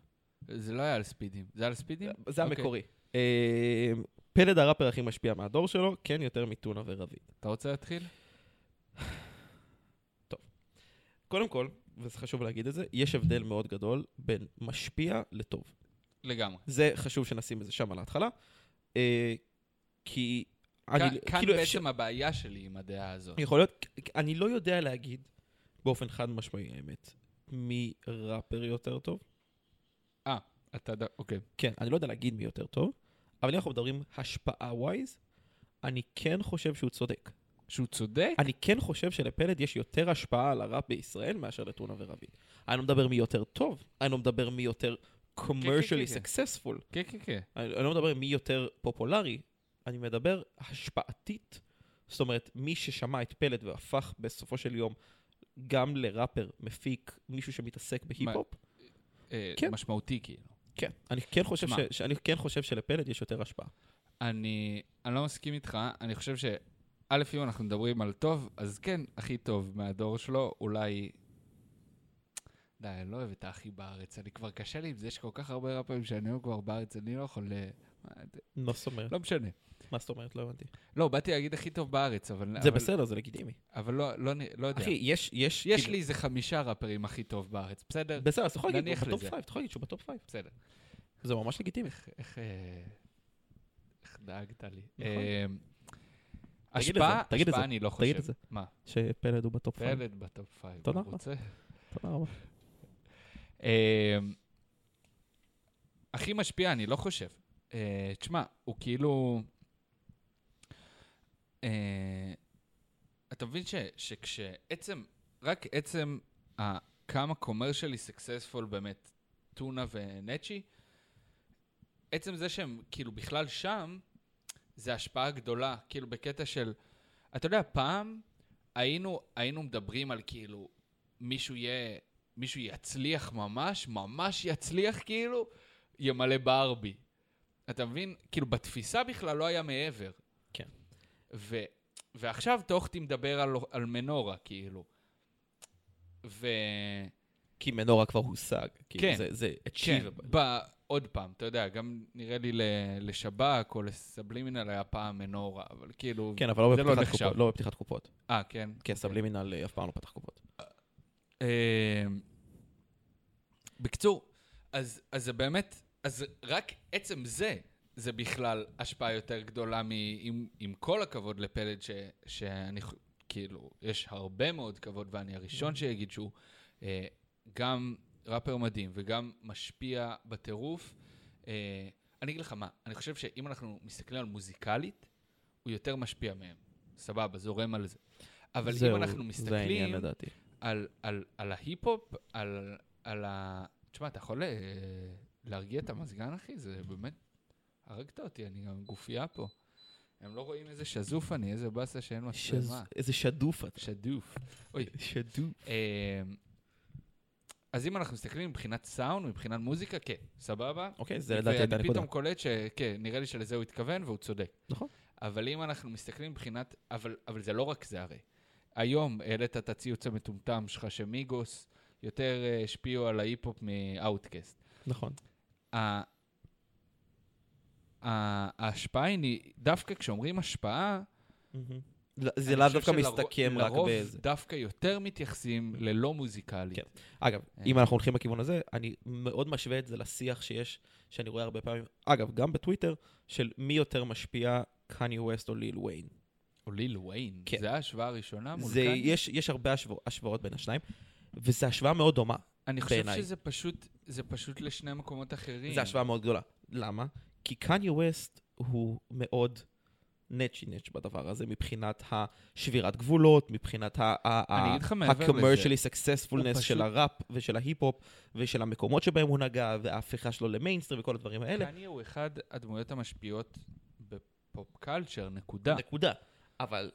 S1: זה לא היה על ספידים. זה היה על ספידים?
S2: זה
S1: אוקיי.
S2: המקורי. אה, פלד הראפר הכי משפיע מהדור שלו, כן יותר מטונה ורביד.
S1: אתה רוצה להתחיל?
S2: קודם כל, וזה חשוב להגיד את זה, יש הבדל מאוד גדול בין משפיע לטוב.
S1: לגמרי.
S2: זה חשוב שנשים את זה שם על ההתחלה. אה, כי אני,
S1: כאן כאן
S2: כאילו אפשר, כן.
S1: בעצם הבעיה שלי עם הדעה הזאת.
S2: יכול להיות, אני לא יודע להגיד באופן חד משמעי האמת, מראפר יותר טוב.
S1: אתה יודע, אוקיי.
S2: כן, אני לא יודע להגיד מי יותר טוב, אבל אם אנחנו מדברים השפעה ווייז, אני כן חושב שהוא צודק.
S1: שהוא צודק?
S2: אני כן חושב שלפלד יש יותר השפעה על הראפ בישראל מאשר לטונה ורביד. אני לא מדבר מי יותר טוב, אני לא מדבר מי יותר commercially
S1: כן, כן.
S2: successful,
S1: כן, כן, כן.
S2: אני אני לא מדבר מי יותר פופולרי, אני מדבר השפעתית. זאת אומרת, מי ששמע את פלד והפך בסופו של יום גם לראפר, מפיק, מישהו שמתעסק בהיפ-הופ,
S1: אה,
S2: כן.
S1: משמעותי, כאילו.
S2: כן. אני כן, חושב ש...
S1: שמע.
S2: שאני כן חושב שלפלד יש יותר השפעה.
S1: אני, אני לא מסכים איתך, אני חושב ש... א', אם אנחנו מדברים על טוב, אז כן, הכי טוב מהדור שלו, אולי... די, אני לא אוהב את האחי בארץ, אני כבר קשה לי עם זה, יש כל כך הרבה ראפרים שאני אוהב כבר בארץ, אני לא יכול... ל- מה, זה-
S2: מה זאת אומרת?
S1: לא משנה.
S2: מה זאת אומרת? לא הבנתי.
S1: לא, באתי להגיד הכי טוב בארץ, אבל...
S2: זה
S1: לא, אבל-
S2: בסדר, זה לגיטימי.
S1: אבל לא, לא, נ- לא יודע.
S2: אחי, יש... יש
S1: יש
S2: כאילו-
S1: לי איזה חמישה ראפרים הכי טוב בארץ, בסדר?
S2: בסדר, אז אתה יכול להגיד
S1: נניח
S2: הוא בטופ
S1: לזה.
S2: 5, אתה יכול להגיד שהוא בטופ 5.
S1: בסדר.
S2: זה ממש לגיטימי.
S1: איך, איך, אה, איך דאגת לי?
S2: נכון.
S1: אה,
S2: תגיד את זה,
S1: השפעה,
S2: תגיד את
S1: השפעה
S2: זה,
S1: אני לא חושב.
S2: תגיד את זה.
S1: מה?
S2: שפלד הוא בטופ 5.
S1: פלד בטופ פייב,
S2: תודה
S1: הוא
S2: רבה.
S1: רוצה?
S2: תודה רבה.
S1: אה, הכי משפיע, אני לא חושב. אה, תשמע, הוא כאילו... אה, אתה מבין ש, שכשעצם, רק עצם ה- כמה קומרשלי סקסספול באמת, טונה ונצ'י, עצם זה שהם כאילו בכלל שם, זה השפעה גדולה, כאילו בקטע של, אתה יודע, פעם היינו, היינו מדברים על כאילו, מישהו יהיה, מישהו יצליח ממש, ממש יצליח כאילו, ימלא ברבי. אתה מבין? כאילו, בתפיסה בכלל לא היה מעבר.
S2: כן.
S1: ו, ועכשיו טוחטי מדבר על, על מנורה, כאילו. ו...
S2: כי מנורה כבר הושג.
S1: כן.
S2: כן. זה
S1: כן,
S2: achievable.
S1: ב... עוד פעם, אתה יודע, גם נראה לי ל... לשב"כ או לסבלימינל היה פעם מנורה, אבל כאילו...
S2: כן, אבל לא
S1: זה לא
S2: בפתיחת
S1: נחשב.
S2: קופות. לא בפתיחת קופות.
S1: אה, כן.
S2: כן,
S1: אוקיי.
S2: סבלימינל אה, אף פעם לא פתח קופות.
S1: אה, בקיצור, אז, אז זה באמת, אז רק עצם זה, זה בכלל השפעה יותר גדולה, מ, עם, עם כל הכבוד לפלד, ש, שאני חו- כאילו, יש הרבה מאוד כבוד, ואני הראשון שיגיד שהוא אה, גם ראפר מדהים וגם משפיע בטירוף. אה, אני אגיד לך מה, אני חושב שאם אנחנו מסתכלים על מוזיקלית, הוא יותר משפיע מהם. סבבה, זורם על זה. אבל
S2: זהו,
S1: אם אנחנו
S2: זה
S1: מסתכלים
S2: העניין לדעתי.
S1: על, על, על ההיפ-הופ, על, על ה... תשמע, אתה יכול אה, להרגיע את המזגן, אחי? זה באמת... הרגת אותי, אני גם גופייה פה. הם לא רואים איזה שזוף אני, איזה באסה שאין
S2: שז-
S1: מצלמה.
S2: איזה שדוף אתה.
S1: שדוף. אוי.
S2: שדוף.
S1: אה, אז אם אנחנו מסתכלים מבחינת סאונד, מבחינת מוזיקה, כן, סבבה?
S2: אוקיי, זה לדעתי הייתה
S1: ואני
S2: נקודה.
S1: פתאום קולט שכן, נראה לי שלזה הוא התכוון והוא צודק.
S2: נכון.
S1: אבל אם אנחנו מסתכלים מבחינת, אבל, אבל זה לא רק זה הרי. היום העלית את הציוץ המטומטם שלך שמיגוס יותר אה, השפיעו על ההיפ-הופ מאוטקאסט.
S2: נכון.
S1: ה- ה- ההשפעה היא, דווקא כשאומרים השפעה,
S2: לא, זה
S1: אני
S2: לאו
S1: חושב
S2: דווקא
S1: שלרוב-
S2: מסתכם רק
S1: לרוב
S2: באיזה.
S1: דווקא יותר מתייחסים ללא מוזיקלית.
S2: כן. אגב,
S1: אה.
S2: אם אנחנו הולכים בכיוון הזה, אני מאוד משווה את זה לשיח שיש, שאני רואה הרבה פעמים, אגב, גם בטוויטר, של מי יותר משפיע, קניה ווסט או ליל ויין.
S1: או ליל וויין,
S2: כן.
S1: זו ההשוואה הראשונה מול
S2: זה,
S1: קניה?
S2: יש, יש הרבה השו, השוואות בין השניים, וזו השוואה מאוד דומה.
S1: אני חושב
S2: בעיניי.
S1: שזה פשוט, זה פשוט לשני מקומות אחרים.
S2: זו השוואה מאוד גדולה. למה? כי קניה ווסט הוא מאוד נצ'י נצ' בדבר הזה, מבחינת השבירת גבולות, מבחינת ה- ה-
S1: אני
S2: ה-
S1: אגיד לך מעבר
S2: ה-commercially
S1: הוא
S2: successfulness
S1: פשוט-
S2: של הראפ ושל ההיפ-הופ ושל המקומות שבהם הוא נגע, וההפיכה שלו למיינסטרים וכל הדברים האלה.
S1: קניה הוא אחד הדמויות המשפיעות בפופ קלצ'ר, נקודה.
S2: נקודה. אבל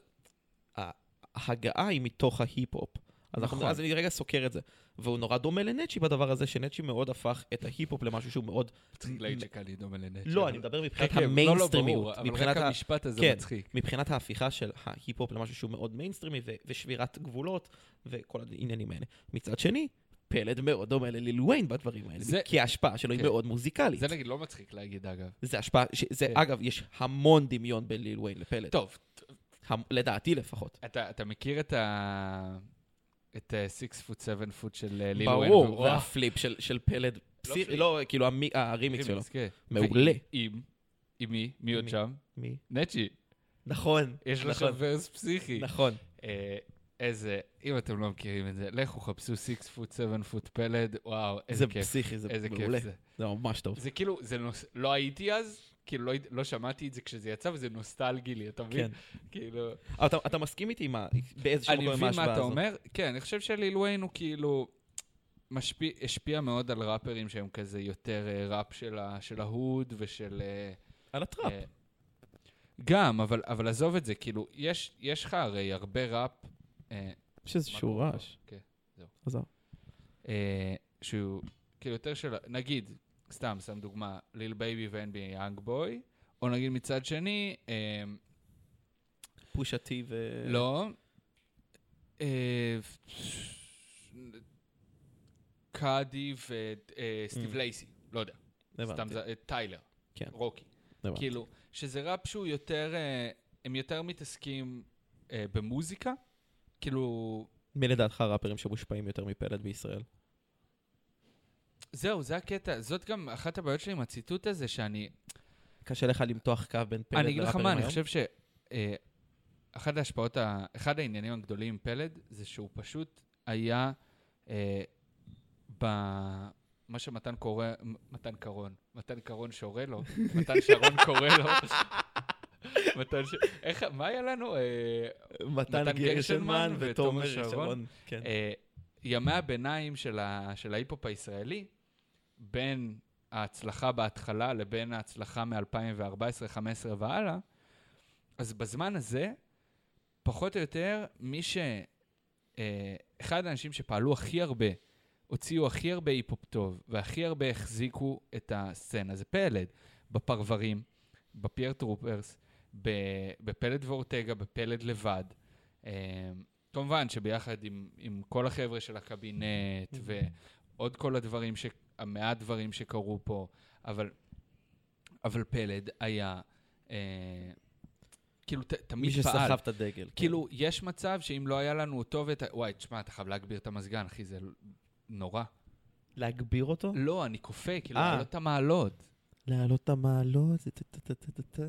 S2: ה- ההגעה היא מתוך ההיפ-הופ. אז, נכון.
S1: נכון.
S2: אנחנו, אז אני רגע סוקר את זה. והוא נורא דומה לנצ'י בדבר הזה, שנצ'י מאוד הפך את ההיפ-הופ למשהו שהוא מאוד...
S1: צריך להגיד שקניה דומה לנצ'ר.
S2: לא,
S1: אבל-
S2: אני מדבר מבחינת
S1: כן, כן, לא, לא,
S2: המיינסטרימיות.
S1: ברור, אבל
S2: מבחינת
S1: רק
S2: ה-
S1: המשפט הזה
S2: כן.
S1: מצחיק.
S2: מבחינת ההפיכה של ההיפ-הופ למשהו שהוא מאוד מיינסטרימי ו- ושבירת גבולות וכל העניינים האלה. מצד שני, פלד מאוד דומה לליל וויין בדברים האלה,
S1: זה-
S2: כי ההשפעה שלו
S1: כן.
S2: היא מאוד מוזיקלית.
S1: זה נגיד לא מצחיק להגיד, אגב.
S2: זה השפעה, ש- זה
S1: כן.
S2: אגב, יש המון דמיון בין ליל וויין לפלד,
S1: טוב,
S2: המ- לדעתי לפחות.
S1: אתה אתה מכיר את ה... את אה, ה-6 פוט 7 פוט של אה, ליל וויין?
S2: ברור, זה הפליפ של- של פלד, פסיכי-
S1: פליפ.
S2: לא, כאילו המי- הרימיקס שלו. מעולה.
S1: אה, מעולה. כן, עם? עם מי? מי עוד
S2: מי?
S1: שם?
S2: מי?
S1: נצ'י.
S2: נכון,
S1: יש לו
S2: נכון,
S1: שם ורס פסיכי.
S2: נכון.
S1: אה, איזה, אם אתם לא מכירים את זה, לכו חפשו 6 פוט, 7 פוט פלד, וואו, איזה
S2: זה
S1: כיף.
S2: פסיכי, זה
S1: איזה
S2: מעולה.
S1: כיף זה.
S2: זה ממש טוב.
S1: זה כאילו, זה נוס... לא הייתי אז, כאילו לא, היית- לא שמעתי את זה כשזה יצא, וזה נוסטלגי לי, אתה מבין?
S2: כן.
S1: כאילו...
S2: אבל אתה- אתה מסכים איתי עם ה- באיזשהו
S1: אני
S2: מקום עם
S1: מבין מה
S2: ההשוואה
S1: אתה
S2: הזאת.
S1: אומר. כן, אני חושב שליל וויין הוא כאילו... משפיע, השפיע מאוד על ראפרים שהם כזה יותר אה, ראפ של, ה, של ההוד ושל... אה,
S2: על הטראפ.
S1: אה, גם, אבל, אבל עזוב את זה, כאילו, יש, יש לך הרי הרבה ראפ... אה,
S2: יש איזשהו
S1: מה קורה?
S2: רעש.
S1: כן, זהו.
S2: עזוב.
S1: אה, שהוא כאילו יותר של, נגיד, סתם, סתם דוגמה, ליל בייבי ו-NBA יאנג בוי, או נגיד מצד שני, אה,
S2: פושתי ו...
S1: לא, אה, קאדי וסטיב
S2: Mm.
S1: לייסי, לא יודע, סתם
S2: הבנתי.
S1: זה, אה, טיילר,
S2: כן.
S1: רוקי,
S2: הבנתי.
S1: כאילו, שזה ראפ שהוא יותר, אה, הם יותר מתעסקים אה, במוזיקה, כאילו,
S2: מי לדעתך הראפרים שמושפעים יותר מפלד בישראל?
S1: זהו, זה הקטע. זאת גם אחת הבעיות שלי עם הציטוט הזה, שאני...
S2: קשה לך למתוח קו בין פלד לראפרים היום?
S1: אני אגיד לך מה, אני חושב ש... אה, אחת ההשפעות, ה- אחד העניינים הגדולים עם פלד, זה שהוא פשוט היה אה, ב... מה שמתן קורא, מתן קרון, מתן קרון שורה לו, מתן שרון קורא לו. מתן ש... איך, מה היה לנו? אה,
S2: מתן גרשנמן ותומר
S1: שרון.
S2: שרון. כן.
S1: אה, ימי הביניים של, ה, של ההיפ-הופ הישראלי, בין ההצלחה בהתחלה לבין ההצלחה מ-2014-2015 והלאה, אז בזמן הזה, פחות או יותר, מי ש... אה, אחד האנשים שפעלו הכי הרבה, הוציאו הכי הרבה היפ-הופ טוב, והכי הרבה החזיקו את הסצנה, זה פלד. בפרברים, בפייר טרופרס, ב- בפלד ואורטגה, בפלד לבד. אה, כמובן שביחד עם, עם כל החבר'ה של הקבינט ועוד כל הדברים, ש, המעט דברים שקרו פה, אבל, אבל פלד היה, אה, כאילו ת,
S2: מי
S1: תמיד פעל.
S2: שסחב את הדגל. כן.
S1: כאילו, יש מצב שאם לא היה לנו אותו ואת... ה- וואי, תשמע, אתה חייב להגביר את המזגן, אחי, זה נורא.
S2: להגביר אותו?
S1: לא, אני כופה, כאילו,
S2: אה.
S1: לעלות את המעלות.
S2: להעלות את המעלות? זה טה-טה-טה-טה-טה.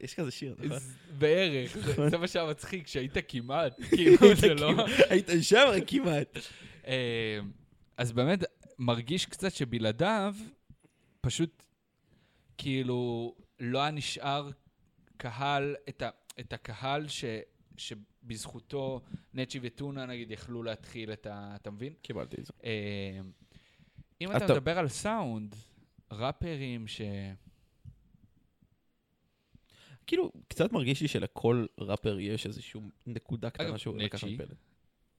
S2: יש כזה שיר, נכון?
S1: ז- בערך, זה-
S2: נכון.
S1: זה מה שהיה מצחיק, שהיית כמעט, כאילו זה לא...
S2: היית שם כמעט.
S1: אה, אז באמת, מרגיש קצת שבלעדיו, פשוט, כאילו, לא היה נשאר קהל, את, ה, את הקהל ש, שבזכותו נצ'י וטונה, נגיד, יכלו להתחיל את ה... אתה מבין?
S2: קיבלתי את זה.
S1: אה, אם אתה
S2: אתה-
S1: מדבר על סאונד, ראפרים ש...
S2: כאילו, קצת מרגיש לי שלכל ראפר יש איזושהי נקודה
S1: אגב,
S2: קטנה שהוא לקח
S1: נצ'י,
S2: מפלד.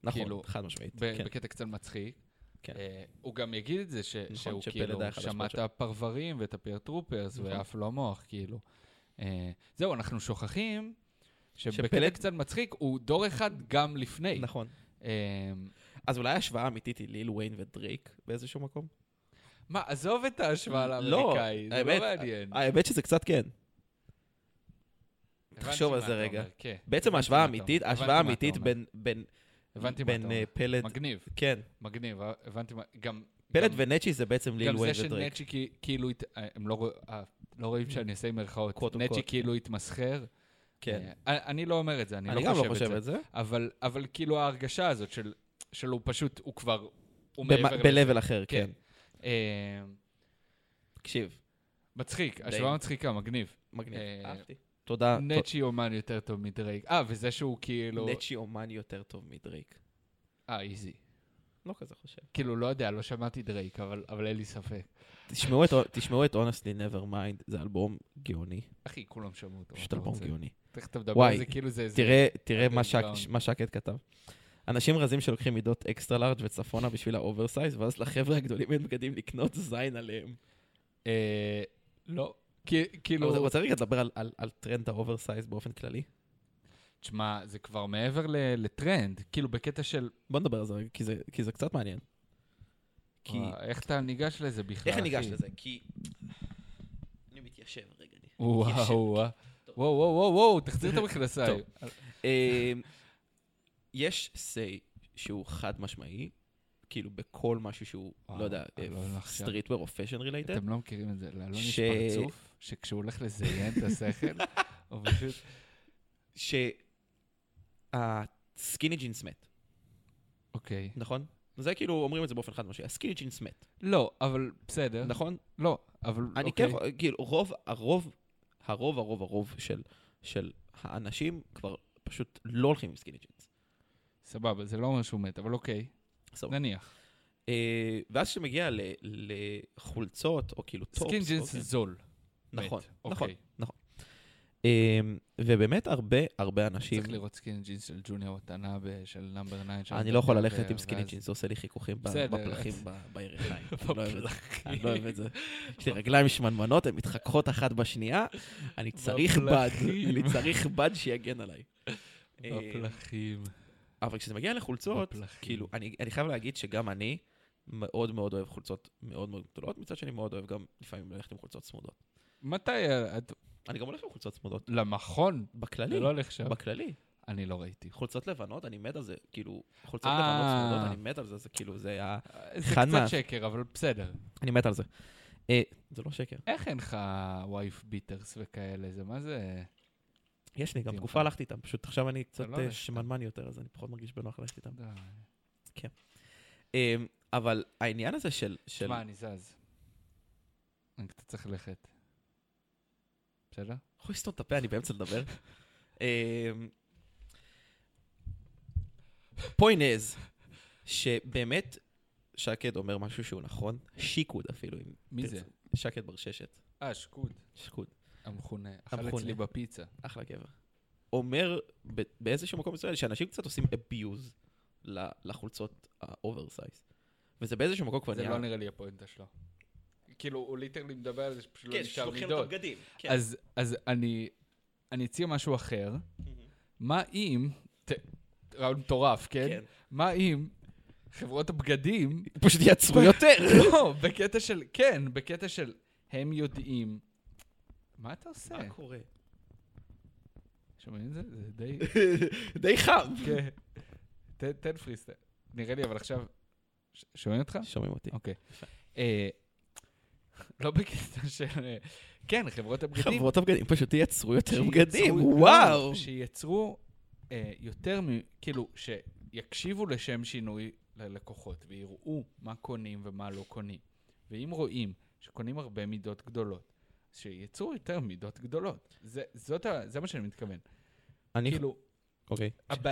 S2: נכון,
S1: כאילו,
S2: חד משמעית.
S1: ב-
S2: כן.
S1: בקטע קצת מצחיק.
S2: כן.
S1: אה, הוא גם יגיד את זה, ש-
S2: נכון,
S1: שהוא
S2: שפלד
S1: כאילו
S2: היה אחד
S1: שמע
S2: ההשפעות
S1: את הפרברים ואת הפייר טרופרס
S2: נכון.
S1: ועף לו מוח, כאילו. אה, זהו, אנחנו שוכחים שבקטע
S2: שפלד-
S1: קצת מצחיק, הוא דור אחד גם לפני.
S2: נכון.
S1: אה,
S2: אז אולי ההשוואה האמיתית היא ליל וויין ודרייק באיזשהו מקום?
S1: מה, עזוב את ההשוואה
S2: לא,
S1: לאמריקאי, זה לא
S2: האמת,
S1: מעניין.
S2: האמת שזה קצת כן.
S1: הבנתי
S2: תחשוב
S1: מה
S2: על זה
S1: אתה
S2: רגע.
S1: אומר, כן.
S2: בעצם
S1: הבנתי
S2: ההשוואה
S1: מה אתה
S2: האמיתית,
S1: אומר, הבנתי
S2: ההשוואה
S1: מה אתה
S2: האמיתית
S1: אומר.
S2: בין- בין
S1: הבנתי מה אתה
S2: בין
S1: אומר.
S2: אה, פלד,
S1: מגניב,
S2: כן,
S1: מגניב, אה, הבנתי מה... גם...
S2: פלד
S1: גם-
S2: ונצ'י זה בעצם ליל
S1: גם זה
S2: וויין ודרייק.
S1: שנצ'י כי- כאילו, הת- אה, הם לא רוא- אה, לא רואים שאני עושה עם
S2: קוט
S1: מירכאות,
S2: און
S1: נצ'י
S2: קוט.
S1: כאילו התמסחר.
S2: כן.
S1: אה, אני לא אומר את זה, אני
S2: אני גם
S1: לא חושב את זה.
S2: את זה.
S1: אבל, אבל כאילו ההרגשה הזאת של, של הוא פשוט, הוא כבר, הוא
S2: במה-
S1: מעבר לזה.
S2: ב-level אחר,
S1: כן.
S2: כן.
S1: אה,
S2: תקשיב,
S1: מצחיק,
S2: די.
S1: השוואה מצחיקה, מגניב.
S2: מגניב.
S1: אה,
S2: אהבתי. תודה.
S1: נצ'י אומן יותר טוב מדרייק. אה, וזה שהוא כאילו...
S2: נצ'י אומן יותר טוב מדרייק.
S1: אה, איזי.
S2: לא כזה חושב.
S1: כאילו, לא יודע, לא שמעתי דרייק, אבל, אבל אין לי ספק.
S2: תשמעו את- תשמעו את Honestly Nevermind, זה אלבום גאוני.
S1: אחי, כולם שמעו אותו. מה
S2: פשוט
S1: אתה
S2: אלבום
S1: רוצה?
S2: גאוני.
S1: איך אתה מדבר
S2: וואי,
S1: על זה, כאילו זה... זה...
S2: תראה, תראה
S1: אדם
S2: מה, שק,
S1: גאון.
S2: מה שקד כתב. אנשים רזים שלוקחים מידות אקסטרה לארג' וצפונה בשביל האוברסייז, ואז לחבר'ה הגדולים אין בגדים לקנות זין עליהם.
S1: אה, לא. כי- כאילו...
S2: אבל רוצה רגע לדבר על, על, על טרנד האוברסייז באופן כללי?
S1: תשמע, זה כבר מעבר ל- לטרנד. כאילו, בקטע של...
S2: בוא נדבר על זה רגע, כי זה, כי זה קצת מעניין. כי...
S1: וואי, אה, איך אתה ניגש לזה בכלל,
S2: איך אני ניגש
S1: אחי?
S2: לזה? כי... אני מתיישב רגע. אני מתיישב.
S1: וואו, וואו, וואו, וואו, וואו, תחזיר את המכנסיים.
S2: אמ, יש סיי שהוא חד משמעי, כאילו בכל משהו שהוא,
S1: וואו,
S2: לא יודע,
S1: אני לא הולך שם.
S2: סטריטוור או פשן רילייטד.
S1: אתם לא מכירים את זה, לאלון יש
S2: ש-
S1: פרצוף, שכשהוא הולך לזיין את השכל, הוא פשוט...
S2: שהטרנד סקיני ג'ינס מת,
S1: אוקיי.
S2: נכון? זה כאילו אומרים את זה באופן חד משמעי, הסקיני ג'ינס מת,
S1: לא, אבל בסדר.
S2: נכון?
S1: לא, אבל
S2: אני
S1: אוקיי.
S2: כן, כאילו, רוב, הרוב, הרוב, הרוב, הרוב של, של האנשים כבר פשוט לא הולכים עם סקיני ג'ינס.
S1: סבבה, זה לא אומר שהוא מת, אבל אוקיי,
S2: סבבה.
S1: נניח.
S2: אה, ואז כשמגיע ל- לחולצות, או כאילו טופס,
S1: סקין
S2: או
S1: ג'ינס
S2: כן.
S1: זול. מת.
S2: נכון, נכון.
S1: אוקיי.
S2: אה, ובאמת הרבה, הרבה אנשים,
S1: צריך לראות סקין ג'ינס של ג'וניור וטנה ושל נאמבר 9.
S2: אני לא יכול ללכת עם סקיני ג'ינס, זה עושה לי חיכוכים ב-
S1: בסדר.
S2: בפלחים ב- בירכיים. אני לא אוהב את זה. אני לא אוהב את זה. יש לי רגליים שמנמנות, הן מתחככות אחת בשנייה, אני צריך בד,
S1: בפלחים.
S2: אני צריך בד שיגן עליי. אה,
S1: בפלחים.
S2: אבל כשזה מגיע לחולצות,
S1: בפלחים.
S2: כאילו, אני, אני חייב להגיד שגם אני מאוד מאוד אוהב חולצות מאוד מאוד גדולות, מצד שני מאוד אוהב גם לפעמים ללכת עם חולצות צמודות.
S1: מתי ה- את-
S2: אני גם הולך עם חולצות צמודות.
S1: למכון?
S2: בכללי,
S1: זה לא הולך שם.
S2: בכללי.
S1: אני לא ראיתי.
S2: חולצות לבנות, אני מת על זה, כאילו, חולצות
S1: אה.
S2: לבנות צמודות, אני מת על זה, זה כאילו, זה היה...
S1: זה
S2: אחד מה-
S1: קצת שקר, אבל בסדר.
S2: אני מת על זה. אה, זה לא שקר.
S1: איך אין לך וייף ביטרס וכאלה? זה מה זה?
S2: יש לי, גם
S1: דיון.
S2: תקופה הלכתי איתם, פשוט עכשיו אני קצת
S1: לא
S2: אה,
S1: הולך.
S2: שמנמן יותר, אז אני פחות מרגיש בנוח ללכת איתם.
S1: די.
S2: אה, אבל העניין הזה של... של-
S1: שמע, אני זז. אני קצת צריך ללכת. בסדר?
S2: יכול לסתום את הפה, אני באמצע לדבר. אה, פוינט איז, שבאמת, שקד אומר משהו שהוא נכון, שיקוד אפילו. אם
S1: מי
S2: תרצו.
S1: זה?
S2: שקד בר ששת,
S1: אה, שקוד.
S2: שקוד,
S1: המכונה. אכל
S2: המכונה.
S1: אצלי בפיצה.
S2: אחלה גבר. אומר ב- באיזשהו מקום מסוים שאנשים קצת עושים abuse ל- לחולצות האוברסייז. וזה באיזשהו מקום כבר
S1: זה
S2: נהיה...
S1: לא נראה לי הפואנטה שלו. כאילו, הוא ליטרלי מדבר על זה שפשוט לא
S2: כן,
S1: נשאר
S2: שלוקחים את
S1: מידות.
S2: הבגדים. כן.
S1: אז- אז אני אני אציע משהו אחר. מה אם... ת- רעיון מטורף, כן?
S2: כן.
S1: מה אם חברות הבגדים
S2: פשוט יעצרו יותר.
S1: לא, בקטע של, כן, בקטע של, הם יודעים. מה אתה עושה?
S2: מה קורה?
S1: שומעים את זה? זה די...
S2: די חם.
S1: כן. תן- תן פריסטייל. נראה לי, אבל עכשיו... ש- שומעים אותך?
S2: שומעים אותי.
S1: אוקיי. אה, לא בקטע של... אה, כן, חברות הבגדים.
S2: חברות הבגדים פשוט ייצרו יותר
S1: שייצרו-
S2: בגדים,
S1: לא,
S2: וואו.
S1: שייצרו אה, יותר מ... כאילו, שיקשיבו לשם שינוי ללקוחות ויראו מה קונים ומה לא קונים. ואם רואים שקונים הרבה מידות גדולות, אז שייצרו יותר מידות גדולות. זה, זאת ה, זה מה שאני מתכוון.
S2: אני,
S1: כאילו,
S2: אוקיי.
S1: הב...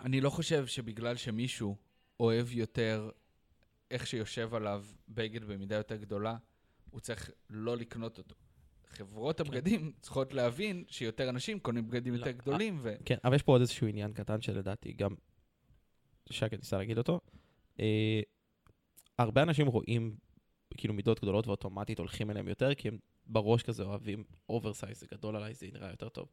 S1: אני לא חושב שבגלל שמישהו אוהב יותר איך שיושב עליו בגד במידה יותר גדולה, הוא צריך לא לקנות אותו. חברות הבגדים צריכות להבין שיותר אנשים קונים בגדים
S2: כן. לא,
S1: יותר
S2: אה,
S1: גדולים, ו...
S2: כן, אבל יש פה עוד איזשהו עניין קטן שלדעתי גם שקד ניסה להגיד אותו. אה, הרבה אנשים רואים כאילו מידות גדולות ואוטומטית הולכים אליהם יותר, כי הם בראש כזה אוהבים אוברסייז, זה גדול עליי, זה נראה יותר טוב.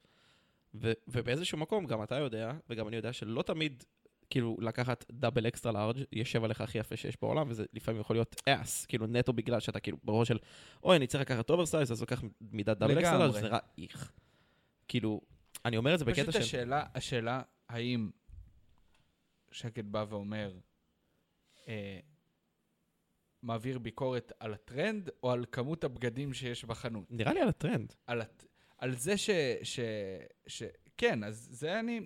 S2: ו- ובאיזשהו מקום, גם אתה יודע, וגם אני יודע שלא תמיד, כאילו, לקחת דאבל אקסטרה לארג' יושב עליך הכי יפה שיש בעולם, וזה לפעמים יכול להיות אס, כאילו נטו בגלל שאתה כאילו בראש של, אוי, אני צריך לקחת אוברסייז, אז לוקח מידת דאבל אקסטרה לארג',
S1: לגמרי.
S2: זה נראה איך. כאילו, אני אומר את זה בקטע
S1: פשוט
S2: של...
S1: השאלה, השאלה האם שקד בא ואומר, אה, מעביר ביקורת על הטרנד או על כמות הבגדים שיש בחנות?
S2: נראה לי על הטרנד.
S1: על, הת... על זה ש... ש... ש... כן, אז זה אני...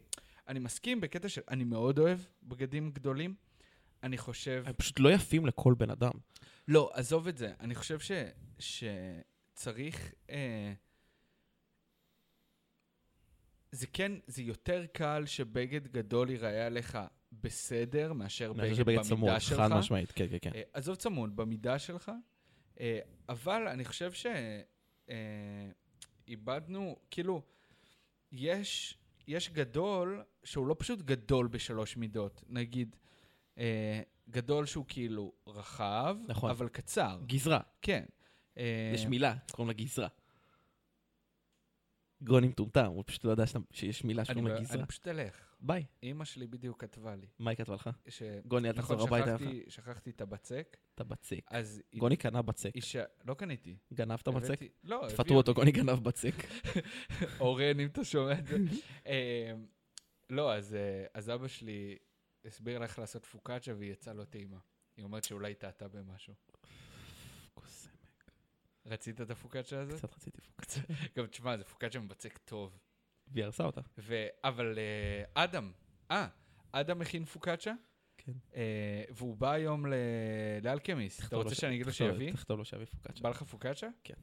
S1: אני מסכים בקטע של... אני מאוד אוהב בגדים גדולים. אני חושב...
S2: הם פשוט לא יפים לכל בן אדם.
S1: לא, עזוב את זה. אני חושב ש... שצריך... אה... זה כן, זה יותר קל שבגד גדול ייראה עליך בסדר מאשר
S2: אני חושב
S1: בגד
S2: שבגד
S1: במידה
S2: צמוד,
S1: שלך.
S2: חד משמעית, כן, כן, כן.
S1: אה, עזוב צמוד, במידה שלך, אה, אבל אני חושב שאיבדנו, כאילו, יש, יש גדול שהוא לא פשוט גדול בשלוש מידות, נגיד, אה, גדול שהוא כאילו רחב,
S2: נכון.
S1: אבל קצר,
S2: גזרה,
S1: כן. אה,
S2: יש מילה, קוראים לה גזרה. גוני מטומטם, הוא פשוט לא יודע שאתה- שיש מילה
S1: אני,
S2: שקוראים לה
S1: ב-
S2: גזרה.
S1: אני פשוט אלך.
S2: ביי,
S1: אימא שלי בדיוק כתבה לי,
S2: מה היא כתבה לך?
S1: ש...
S2: גוני, אל
S1: נכון,
S2: תחזור הביתה. אין לך.
S1: שכחתי, שכחתי את הבצק,
S2: אתה בצק.
S1: אז היא-
S2: גוני קנה בצק.
S1: היא ש... לא קניתי.
S2: גנבת בצק?
S1: הבאתי- לא, הביאו
S2: תפטרו אותו, גוני גנב בצק.
S1: אורן, אם אתה שומע את זה. אה, לא, אז, אה, אז אבא שלי הסביר לה איך לעשות פוקאצ'ה והיא יצאה לא טעימה. היא אומרת שאולי היא טעתה במשהו.
S2: קוסם,
S1: רצית את הפוקאצ'ה הזאת?
S2: קצת רציתי פוקצה.
S1: גם תשמע, זה פוקאצ'ה מבצק טוב.
S2: והיא הרסה אותה.
S1: ו... אבל אה, אדם, אה, אדם הכין פוקאצ'ה,
S2: כן.
S1: אה, והוא בא היום ל... לאלכמיסט. אתה
S2: תכתוב
S1: רוצה
S2: לו ש-
S1: שאני אגיד לו
S2: תכתוב-
S1: שיביא?
S2: תכתוב לו שיביא פוקאצ'ה.
S1: בא לך פוקאצ'ה?
S2: כן.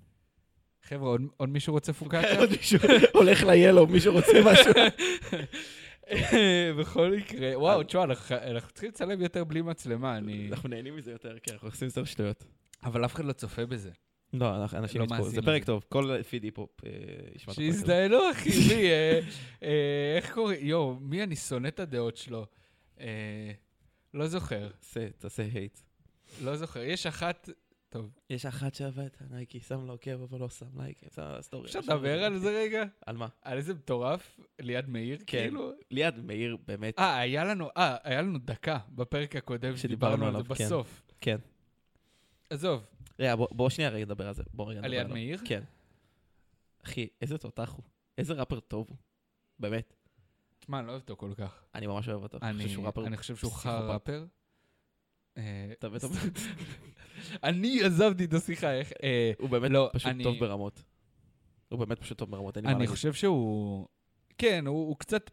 S1: חבר'ה, עוד, עוד מישהו רוצה פוקאצ'ה?
S2: עוד מישהו הולך ל-Yellow, מישהו רוצה משהו.
S1: בכל מקרה, וואו, תשמע, אנחנו אנחנו צריכים לצלם יותר בלי מצלמה, אני...
S2: אנחנו נהנים מזה יותר, כן, אנחנו עושים יותר שטויות.
S1: אבל אף אחד לא צופה בזה.
S2: לא, אנחנו- אנשים
S1: לא
S2: יצפו,
S1: מאזינים
S2: זה פרק
S1: לזה.
S2: טוב, כל פיד היפ-הופ אה, ישמע את הפרק הזה.
S1: שיזדיינו, אחי, מי, אה, אה, איך קוראים? יואו, מי אני שונא את הדעות שלו? אה, לא זוכר,
S2: עשה, תעשה הייט.
S1: לא זוכר. יש אחת...
S2: אוקיי,
S1: טוב,
S2: יש אחת שאהבה את הנייקי, שם לה עוקב, אבל לא שם לייקים, שם לה סטורי.
S1: אפשר לדבר על זה רגע?
S2: על מה?
S1: על איזה מטורף, ליד מאיר,
S2: כן.
S1: כאילו?
S2: ליעד מאיר, באמת,
S1: אה, היה לנו, אה, היה לנו דקה בפרק הקודם שדיברנו על זה
S2: עליו, כן.
S1: בסוף.
S2: כן.
S1: עזוב,
S2: רגע, בוא- בוא שנייה רגע נדבר על זה. בוא רגע
S1: על
S2: נדבר
S1: יד
S2: עליו.
S1: מאיר?
S2: כן. אחי, איזה תותח הוא. איזה ראפר טוב הוא. באמת.
S1: תשמע, אני לא אוהב אותו כל כך.
S2: אני ממש אוהב אותו.
S1: אני
S2: חושב שהוא ראפר
S1: אני חושב שהוא
S2: פסיכופת.
S1: חר ראפר. אה,
S2: אתה באמת-
S1: אני עזבתי את השיחה, איך... אה,
S2: הוא באמת
S1: לא,
S2: פשוט
S1: אני-
S2: טוב ברמות. הוא באמת פשוט טוב ברמות, אין לי מה
S1: אני
S2: להגיד.
S1: חושב שהוא... כן, הוא הוא קצת...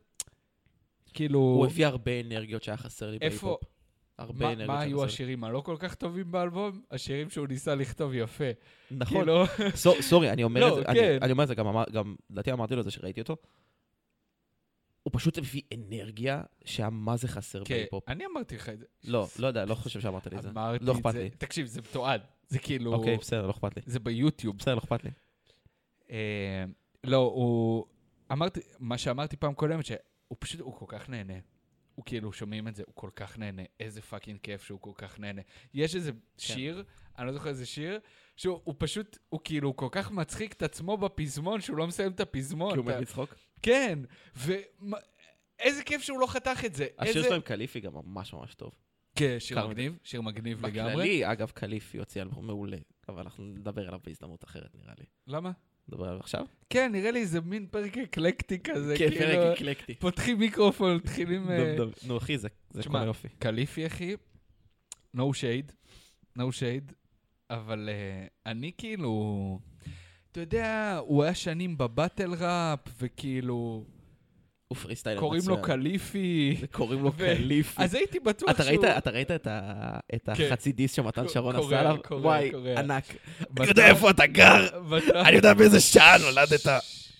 S1: כאילו...
S2: הוא הביא הרבה אנרגיות שהיה חסר לי
S1: איפה-
S2: בהיפ-הופ. הרבה
S1: מה-
S2: אנרגיות
S1: מה
S2: שהיה
S1: היו
S2: חסר
S1: השירים הלא כל כך טובים באלבום? השירים שהוא ניסה לכתוב יפה.
S2: לי. נכון.
S1: כאילו...
S2: סו- סורי, אני אומר
S1: לא,
S2: את זה, אני-
S1: כן.
S2: אני אומר את זה, גם אמר- גם לדעתי אמרתי לו את זה שראיתי אותו. הוא פשוט הביא אנרגיה שהיה מה זה חסר
S1: כן,
S2: בהיפ-הופ.
S1: אני אמרתי לך את זה.
S2: לא, לא יודע, לא חושב שאמרת לי את זה.
S1: אמרתי
S2: לא
S1: את
S2: אכפת
S1: זה.
S2: לי.
S1: תקשיב, זה מתועד. זה כאילו...
S2: אוקיי, בסדר, לא אכפת לי.
S1: זה ביוטיוב.
S2: בסדר, לא אכפת לי.
S1: אה, לא, הוא... אמרתי, מה שאמרתי פעם קודמת, שהוא פשוט, הוא כל כך נהנה. הוא כאילו, שומעים את זה, הוא כל כך נהנה. איזה פאקינג כיף שהוא כל כך נהנה. יש
S2: כן.
S1: איזה שיר, אני לא זוכר איזה שיר, שהוא הוא פשוט, הוא כאילו, הוא כל כך מצחיק את עצמו בפזמון, שהוא לא מסיים את הפזמון.
S2: כי הוא מת
S1: אתה-
S2: מצחוק.
S1: כן, ואיזה כיף שהוא לא חתך את זה.
S2: השיר
S1: איזה-
S2: שלו עם קליפי גם ממש ממש טוב.
S1: כן, שיר
S2: קרמה.
S1: מגניב, שיר מגניב לגמרי.
S2: בכללי, אגב, קליפי הוציא אלבום מעולה, אבל אנחנו נדבר עליו בהזדמנות אחרת, נראה לי.
S1: למה?
S2: נדבר עליו עכשיו?
S1: כן, נראה לי איזה מין פרק אקלקטי כזה,
S2: כן,
S1: כאילו,
S2: פרק אקלקטי.
S1: פותחים מיקרופון, מתחילים... אה,
S2: דב, דב. נו, אחי, זה זה
S1: תשמע,
S2: כל היופי.
S1: קליפי, אחי, no shade, no shade, אבל אה, אני כאילו, אתה יודע, הוא היה שנים בבטל ראפ, וכאילו,
S2: הוא פריסטיילר
S1: קוראים לו קליפי,
S2: קוראים לו
S1: ו-
S2: קליפי.
S1: אז הייתי בטוח
S2: אתה
S1: שהוא...
S2: ראית, אתה ראית את, ה, את
S1: כן.
S2: החצי דיס שמתן
S1: ק-
S2: שרון
S1: קורע,
S2: עשה עליו?
S1: קורע,
S2: וואי,
S1: קורע.
S2: ענק.
S1: מתן-
S2: אני יודע איפה אתה גר,
S1: מתן-
S2: אני יודע באיזה שעה אה, נולדת.
S1: ש-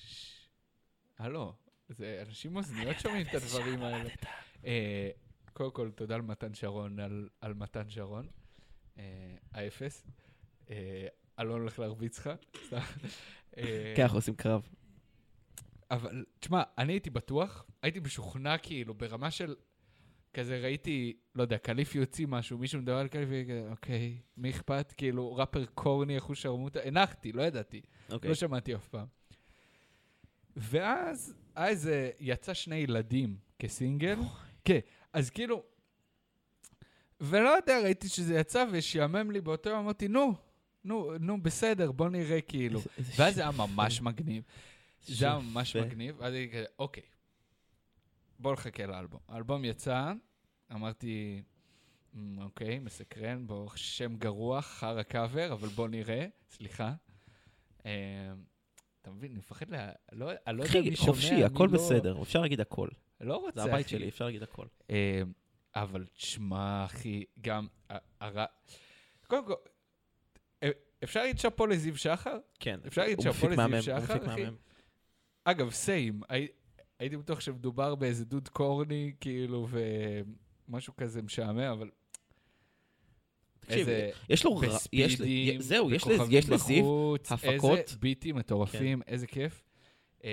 S1: הלו, זה אנשים אוזניות שומעים את הדברים האלה. אה, קודם כל, תודה למתן שרון, על- על מתן שרון, אה, האפס. אה, אלון הולך להרביץ לך. סתם. אה,
S2: כן, אנחנו עושים קרב.
S1: אבל, תשמע, אני הייתי בטוח, הייתי משוכנע כאילו, ברמה של... כזה ראיתי, לא יודע, קליפי הוציא משהו, מישהו מדבר על קליפי, כזה, אוקיי, מי אכפת? כאילו, ראפר קורני, אחוז שרמוטה, הנחתי, לא ידעתי. Okay.
S2: אוקיי.
S1: לא שמעתי אף פעם. ואז, אז אה, יצא שני ילדים כסינגל. כן, אז כאילו... ולא יודע, ראיתי שזה יצא ושעמם לי באותו יום, אמרתי, נו, נו, נו, בסדר, בוא נראה כאילו.
S2: איזה- איזה
S1: ואז זה
S2: שיר
S1: היה ממש
S2: יפה.
S1: מגניב.
S2: איזה
S1: זה היה
S2: שיר
S1: ממש
S2: יפה.
S1: מגניב, ואז הייתי כזה, אוקיי, בוא נחכה לאלבום. האלבום יצא, אמרתי, "מ, אוקיי, מסקרן, בוא, שם גרוע, חרא קאבר, אבל בוא נראה, סליחה. אה, אתה מבין, אני מפחד ל... לא, אני לא יודע מי
S2: אחי,
S1: שומע, מי
S2: חופשי, הכל
S1: לא-
S2: בסדר, אפשר להגיד הכל.
S1: לא רוצה,
S2: זה הבית
S1: אחי.
S2: שלי, אפשר להגיד הכל.
S1: אה, אבל תשמע, אחי, גם... ה- הר... קודם כל, אה, אפשר להגיד שאפו לזיו שחר?
S2: כן.
S1: אפשר להגיד
S2: הוא
S1: שאפו
S2: מפיק
S1: לזיו
S2: מהמם, הוא
S1: שחר,
S2: מפיק
S1: אחי?
S2: מהמם.
S1: אגב, סיים. הי- הייתי בטוח שמדובר באיזה דוד קורני, כאילו, ומשהו כזה משעמם, אבל
S2: תקשיב,
S1: איזה...
S2: יש לו... ר- יש ל-
S1: בספידים,
S2: זהו, יש
S1: בכוכבים
S2: לז- יש לזיו,
S1: בחוץ, איזה
S2: הפקות.
S1: ביטים מטורפים, איזה כיף. אה,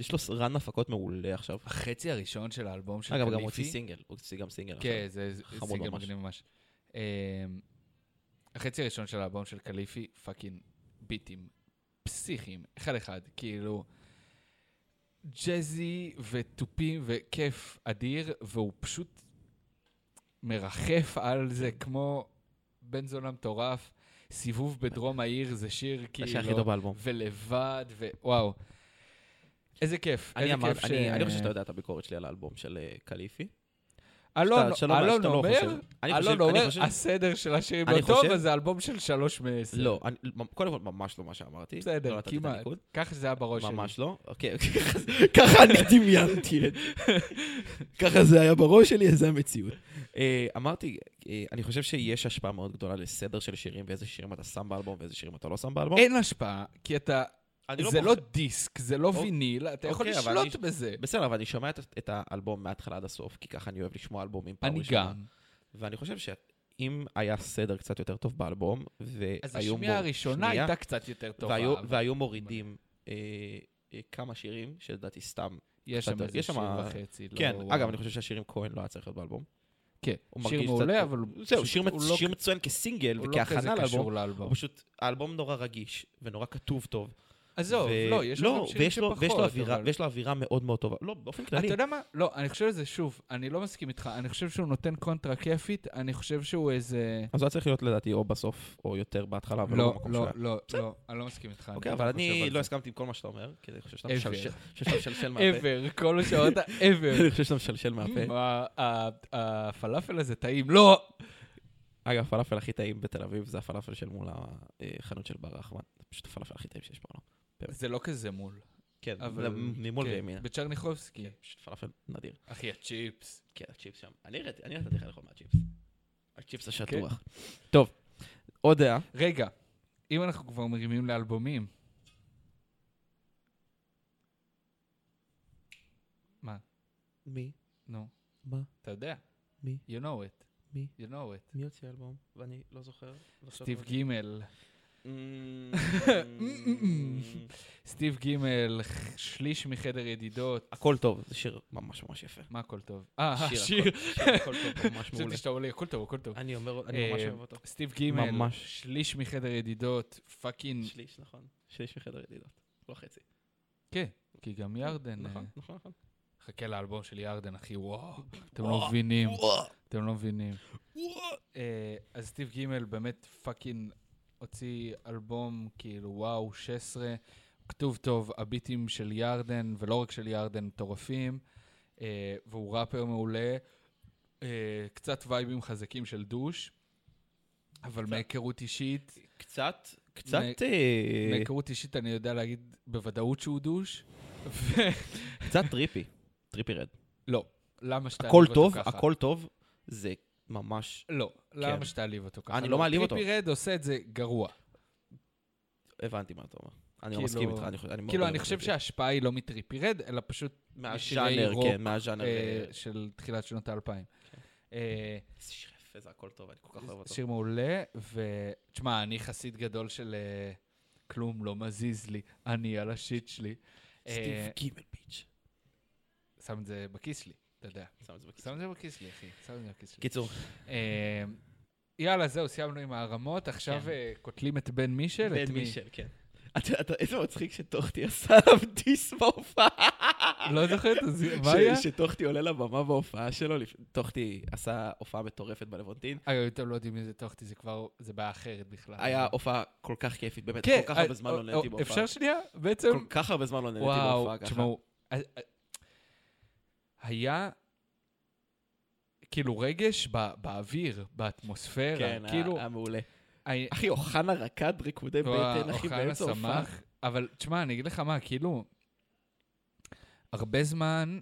S2: יש לו ס- רן הפקות מעולה עכשיו.
S1: החצי הראשון של האלבום של
S2: אגב, גם
S1: קליפי-
S2: הוא הוציא סינגל, הוא הוציא גם סינגל עכשיו.
S1: כן, זה זה
S2: חמוד
S1: סינגל
S2: ממש.
S1: מגניב ממש. אה, החצי הראשון של האלבום של קליפי, פאקינג ביטים פסיכיים, אחד-אחד, כאילו... ג'אזי ותופים וכיף אדיר, והוא פשוט מרחף על
S2: כן.
S1: זה כמו בן זונה מטורף. סיבוב בדרום העיר זה שיר
S2: זה
S1: כאילו...
S2: השיר הכי טוב באלבום.
S1: ולבד, ווואו. איזה כיף,
S2: אני
S1: איזה
S2: אמר-
S1: כיף ש...
S2: אני אני חושב שאתה יודע את הביקורת שלי על האלבום של אה, קליפי.
S1: אלון
S2: שאתה לא-
S1: אלון
S2: שאתה לא
S1: אומר,
S2: חושב. אני חושב-
S1: אלון
S2: אני
S1: אומר,
S2: חושב-
S1: הסדר של השירים
S2: אני
S1: לא טוב,
S2: חושב-
S1: אז זה אלבום של שלוש מעשר.
S2: לא, אני- קודם כל, ממש לא מה שאמרתי. לא
S1: בסדר,
S2: נתתי את
S1: כמעט.
S2: הניקוד.
S1: ככה זה היה בראש שלי.
S2: ממש לא. אוקיי, ככה אני דמיינתי את זה. ככה זה היה בראש שלי, אז זה המציאות. אה, אמרתי, אה, אני חושב שיש השפעה מאוד גדולה לסדר של שירים, ואיזה שירים אתה שם באלבום ואיזה שירים אתה לא שם באלבום.
S1: אין השפעה, כי אתה...
S2: אני
S1: אה, זה לא
S2: בוחר-
S1: דיסק, זה לא
S2: אוקיי,
S1: ויניל, אתה יכול
S2: אבל
S1: לשלוט בזה.
S2: בסדר, אבל אני שומע את- את האלבום מההתחלה עד הסוף, כי ככה אני אוהב לשמוע אלבומים פעם
S1: אני
S2: ראשונה.
S1: גם.
S2: ואני חושב שאם היה סדר קצת יותר טוב באלבום, והיו...
S1: אז השמיעה
S2: מור-
S1: הראשונה
S2: שנייה,
S1: הייתה קצת יותר טובה.
S2: והיו-
S1: אבל
S2: והיו מורידים אה, אה, כמה שירים, שלדעתי סתם
S1: יש
S2: קצת-
S1: שם איזה
S2: יש שם-
S1: שיר וחצי. לא-
S2: כן,
S1: וואו.
S2: אגב, אני חושב שהשיר עם כהן לא היה צריך להיות באלבום.
S1: כן,
S2: הוא
S1: שיר
S2: מרגיש
S1: מעולה,
S2: קצת-
S1: אבל הוא
S2: זהו,
S1: פשוט-
S2: שיר מצ-
S1: הוא לא-
S2: שיר מצוין כסינגל
S1: הוא לא כזה
S2: וכהכנה לאלבום.
S1: קשור לאלבום.
S2: הוא פשוט, האלבום נורא רגיש ונורא כתוב טוב.
S1: עזוב,
S2: ו-
S1: לא, יש
S2: לא,
S1: גם שירים
S2: ויש לו-
S1: שפחות.
S2: ויש לו אווירה-
S1: אבל-
S2: ויש לו אווירה מאוד מאוד טובה. לא, באופן כללי.
S1: אתה יודע מה? לא, אני חושב שזה, שוב, אני לא מסכים איתך, אני חושב שהוא נותן קונטרה כיפית, אני חושב שהוא איזה...
S2: אז הוא היה צריך להיות לדעתי או בסוף או יותר בהתחלה, אבל לא
S1: לא,
S2: במקום
S1: לא,
S2: שלה.
S1: לא, לא, אני לא מסכים איתך.
S2: אוקיי,
S1: לא
S2: אבל
S1: חושב
S2: אני
S1: על
S2: לא
S1: זה.
S2: הסכמתי עם כל מה שאתה אומר, כי אני חושב שאתה
S1: ever.
S2: משלשל- שאתה משלשל מהפה.
S1: ever, כל מה שאמרת, ever.
S2: אני חושב שאתה משלשל מהפה.
S1: מה, ה- הפלאפל הזה טעים. לא!
S2: אגב, הפלאפל הכי טעים בתל אביב זה הפלאפל של מול החנות של בר אחמן. זה פשוט הפלאפל הכי טעים שיש בעולם.
S1: זה לא כזה מול.
S2: כן,
S1: אבל...
S2: ממול
S1: כן,
S2: וימינה.
S1: בצ'רניחובסקי.
S2: כן, פשוט פלאפל נדיר.
S1: אחי, הצ'יפס.
S2: כן, הצ'יפס שם. אני הראתי- אני נתתי לך לאכול מהצ'יפס. הצ'יפס השטוח.
S1: כן.
S2: טוב, עוד דעה.
S1: רגע, אם אנחנו כבר מרימים לאלבומים... מה?
S2: מי?
S1: נו,
S2: מה?
S1: אתה יודע.
S2: מי?
S1: You know it.
S2: מי?
S1: You know it.
S2: מי הוציא אלבום? ואני לא זוכר.
S1: סטיב גימל.
S2: Mm. גיל.
S1: סטיב גימל, ח- שליש מחדר ידידות.
S2: הכל טוב, זה שיר ממש ממש יפה.
S1: מה הכל טוב? אה,
S2: שיר,
S1: השיר.
S2: הכל- שיר הכל טוב, ממש מעולה.
S1: חשבתי שאתה אומר לי, הכל טוב, הכל טוב.
S2: אני אומר, אני ממש
S1: אה,
S2: אוהב אותו.
S1: סטיב גימל,
S2: ממש.
S1: שליש מחדר ידידות, פאקינג...
S2: שליש, נכון. שליש מחדר ידידות. לא חצי.
S1: כן, כי גם ירדן... אה,
S2: נכון, נכון, נכון.
S1: חכה לאלבום של ירדן, אחי, וואו. אתם לא
S2: וואו,
S1: מבינים,
S2: וואו,
S1: אתם לא מבינים.
S2: וואו.
S1: אה, אז סטיב גימל באמת פאקינג הוציא אלבום, כאילו, וואו, 16. כתוב טוב, הביטים של ירדן, ולא רק של ירדן, מטורפים. אה, והוא ראפר מעולה. אה, קצת וייבים חזקים של דוש, אבל
S2: קצת.
S1: מהיכרות אישית,
S2: קצת, קצת...
S1: מ-
S2: אה,
S1: מהיכרות אישית אני יודע להגיד בוודאות שהוא דוש. ו-
S2: קצת טריפי. טריפי רד.
S1: לא, למה שתעליב
S2: הכל
S1: אותו
S2: טוב,
S1: ככה?
S2: הכל טוב, זה ממש...
S1: לא, למה שתעליב אותו ככה?
S2: אני לא מעליב אותו.
S1: קריפי רד עושה את זה גרוע.
S2: הבנתי מה אתה אומר. אני לא
S1: כאילו-
S2: מסכים איתך, אני חושב... מאוד
S1: כאילו,
S2: אוהב
S1: אני
S2: את
S1: חושב
S2: זה.
S1: שההשפעה היא לא מטריפי רד, אלא פשוט משירי
S2: מהז'אנר,
S1: רוק,
S2: כן, מהז'אנר.
S1: אה,
S2: אה,
S1: של תחילת שנות האלפיים. אה,
S2: איזה שיר יפה, זה הכל טוב, אני כן. כל כך אוהב אותו.
S1: שיר מעולה, ותשמע, אני חסיד גדול של אה, כלום לא מזיז לי, אני על השיט שלי. אה,
S2: סטיב גימל ביץ'.
S1: שם את זה בכיס שלי, אתה יודע.
S2: שם את זה בכיס.
S1: שם את זה בכיס שלי, אחי. שם את זה בכיס שלי.
S2: קיצור,
S1: אה, יאללה, זהו, סיימנו עם הערמות. עכשיו
S2: כן.
S1: אה, קוטלים את בן מישל. את
S2: בן
S1: מי?
S2: מישל, כן. אתה, אתה, איזה מצחיק שטוחטי עשה עליו דיס בהופעה.
S1: לא זוכר את זה, מה
S2: ש-
S1: היה?
S2: שטוחטי עולה לבמה בהופעה שלו, לפ- טוחטי עשה הופעה מטורפת בלוונטין.
S1: אגב, אם אתם לא יודעים מי זה טוחטי, זה כבר, זה בעיה אחרת בכלל.
S2: היה הופעה כל כך כיפית, באמת,
S1: כן,
S2: כל כך
S1: אה,
S2: הרבה זמן
S1: אה,
S2: לא נהניתי
S1: אה,
S2: בהופעה.
S1: אפשר שנייה? בעצם,
S2: כל כך הרבה זמן לא נהניתי בהופעה
S1: וואו,
S2: ככה.
S1: תשמעו, אז- אה, היה כאילו רגש ב- באוויר, באטמוספירה,
S2: כן,
S1: כאילו,
S2: היה- היה מעולה.
S1: היה-
S2: אחי, אוחנה רקד ריקודי
S1: וואו,
S2: בטן, אחי,
S1: אוחנה
S2: באמצע הופעה.
S1: שמח, אבל תשמע, אני אגיד לך מה, כאילו, הרבה זמן,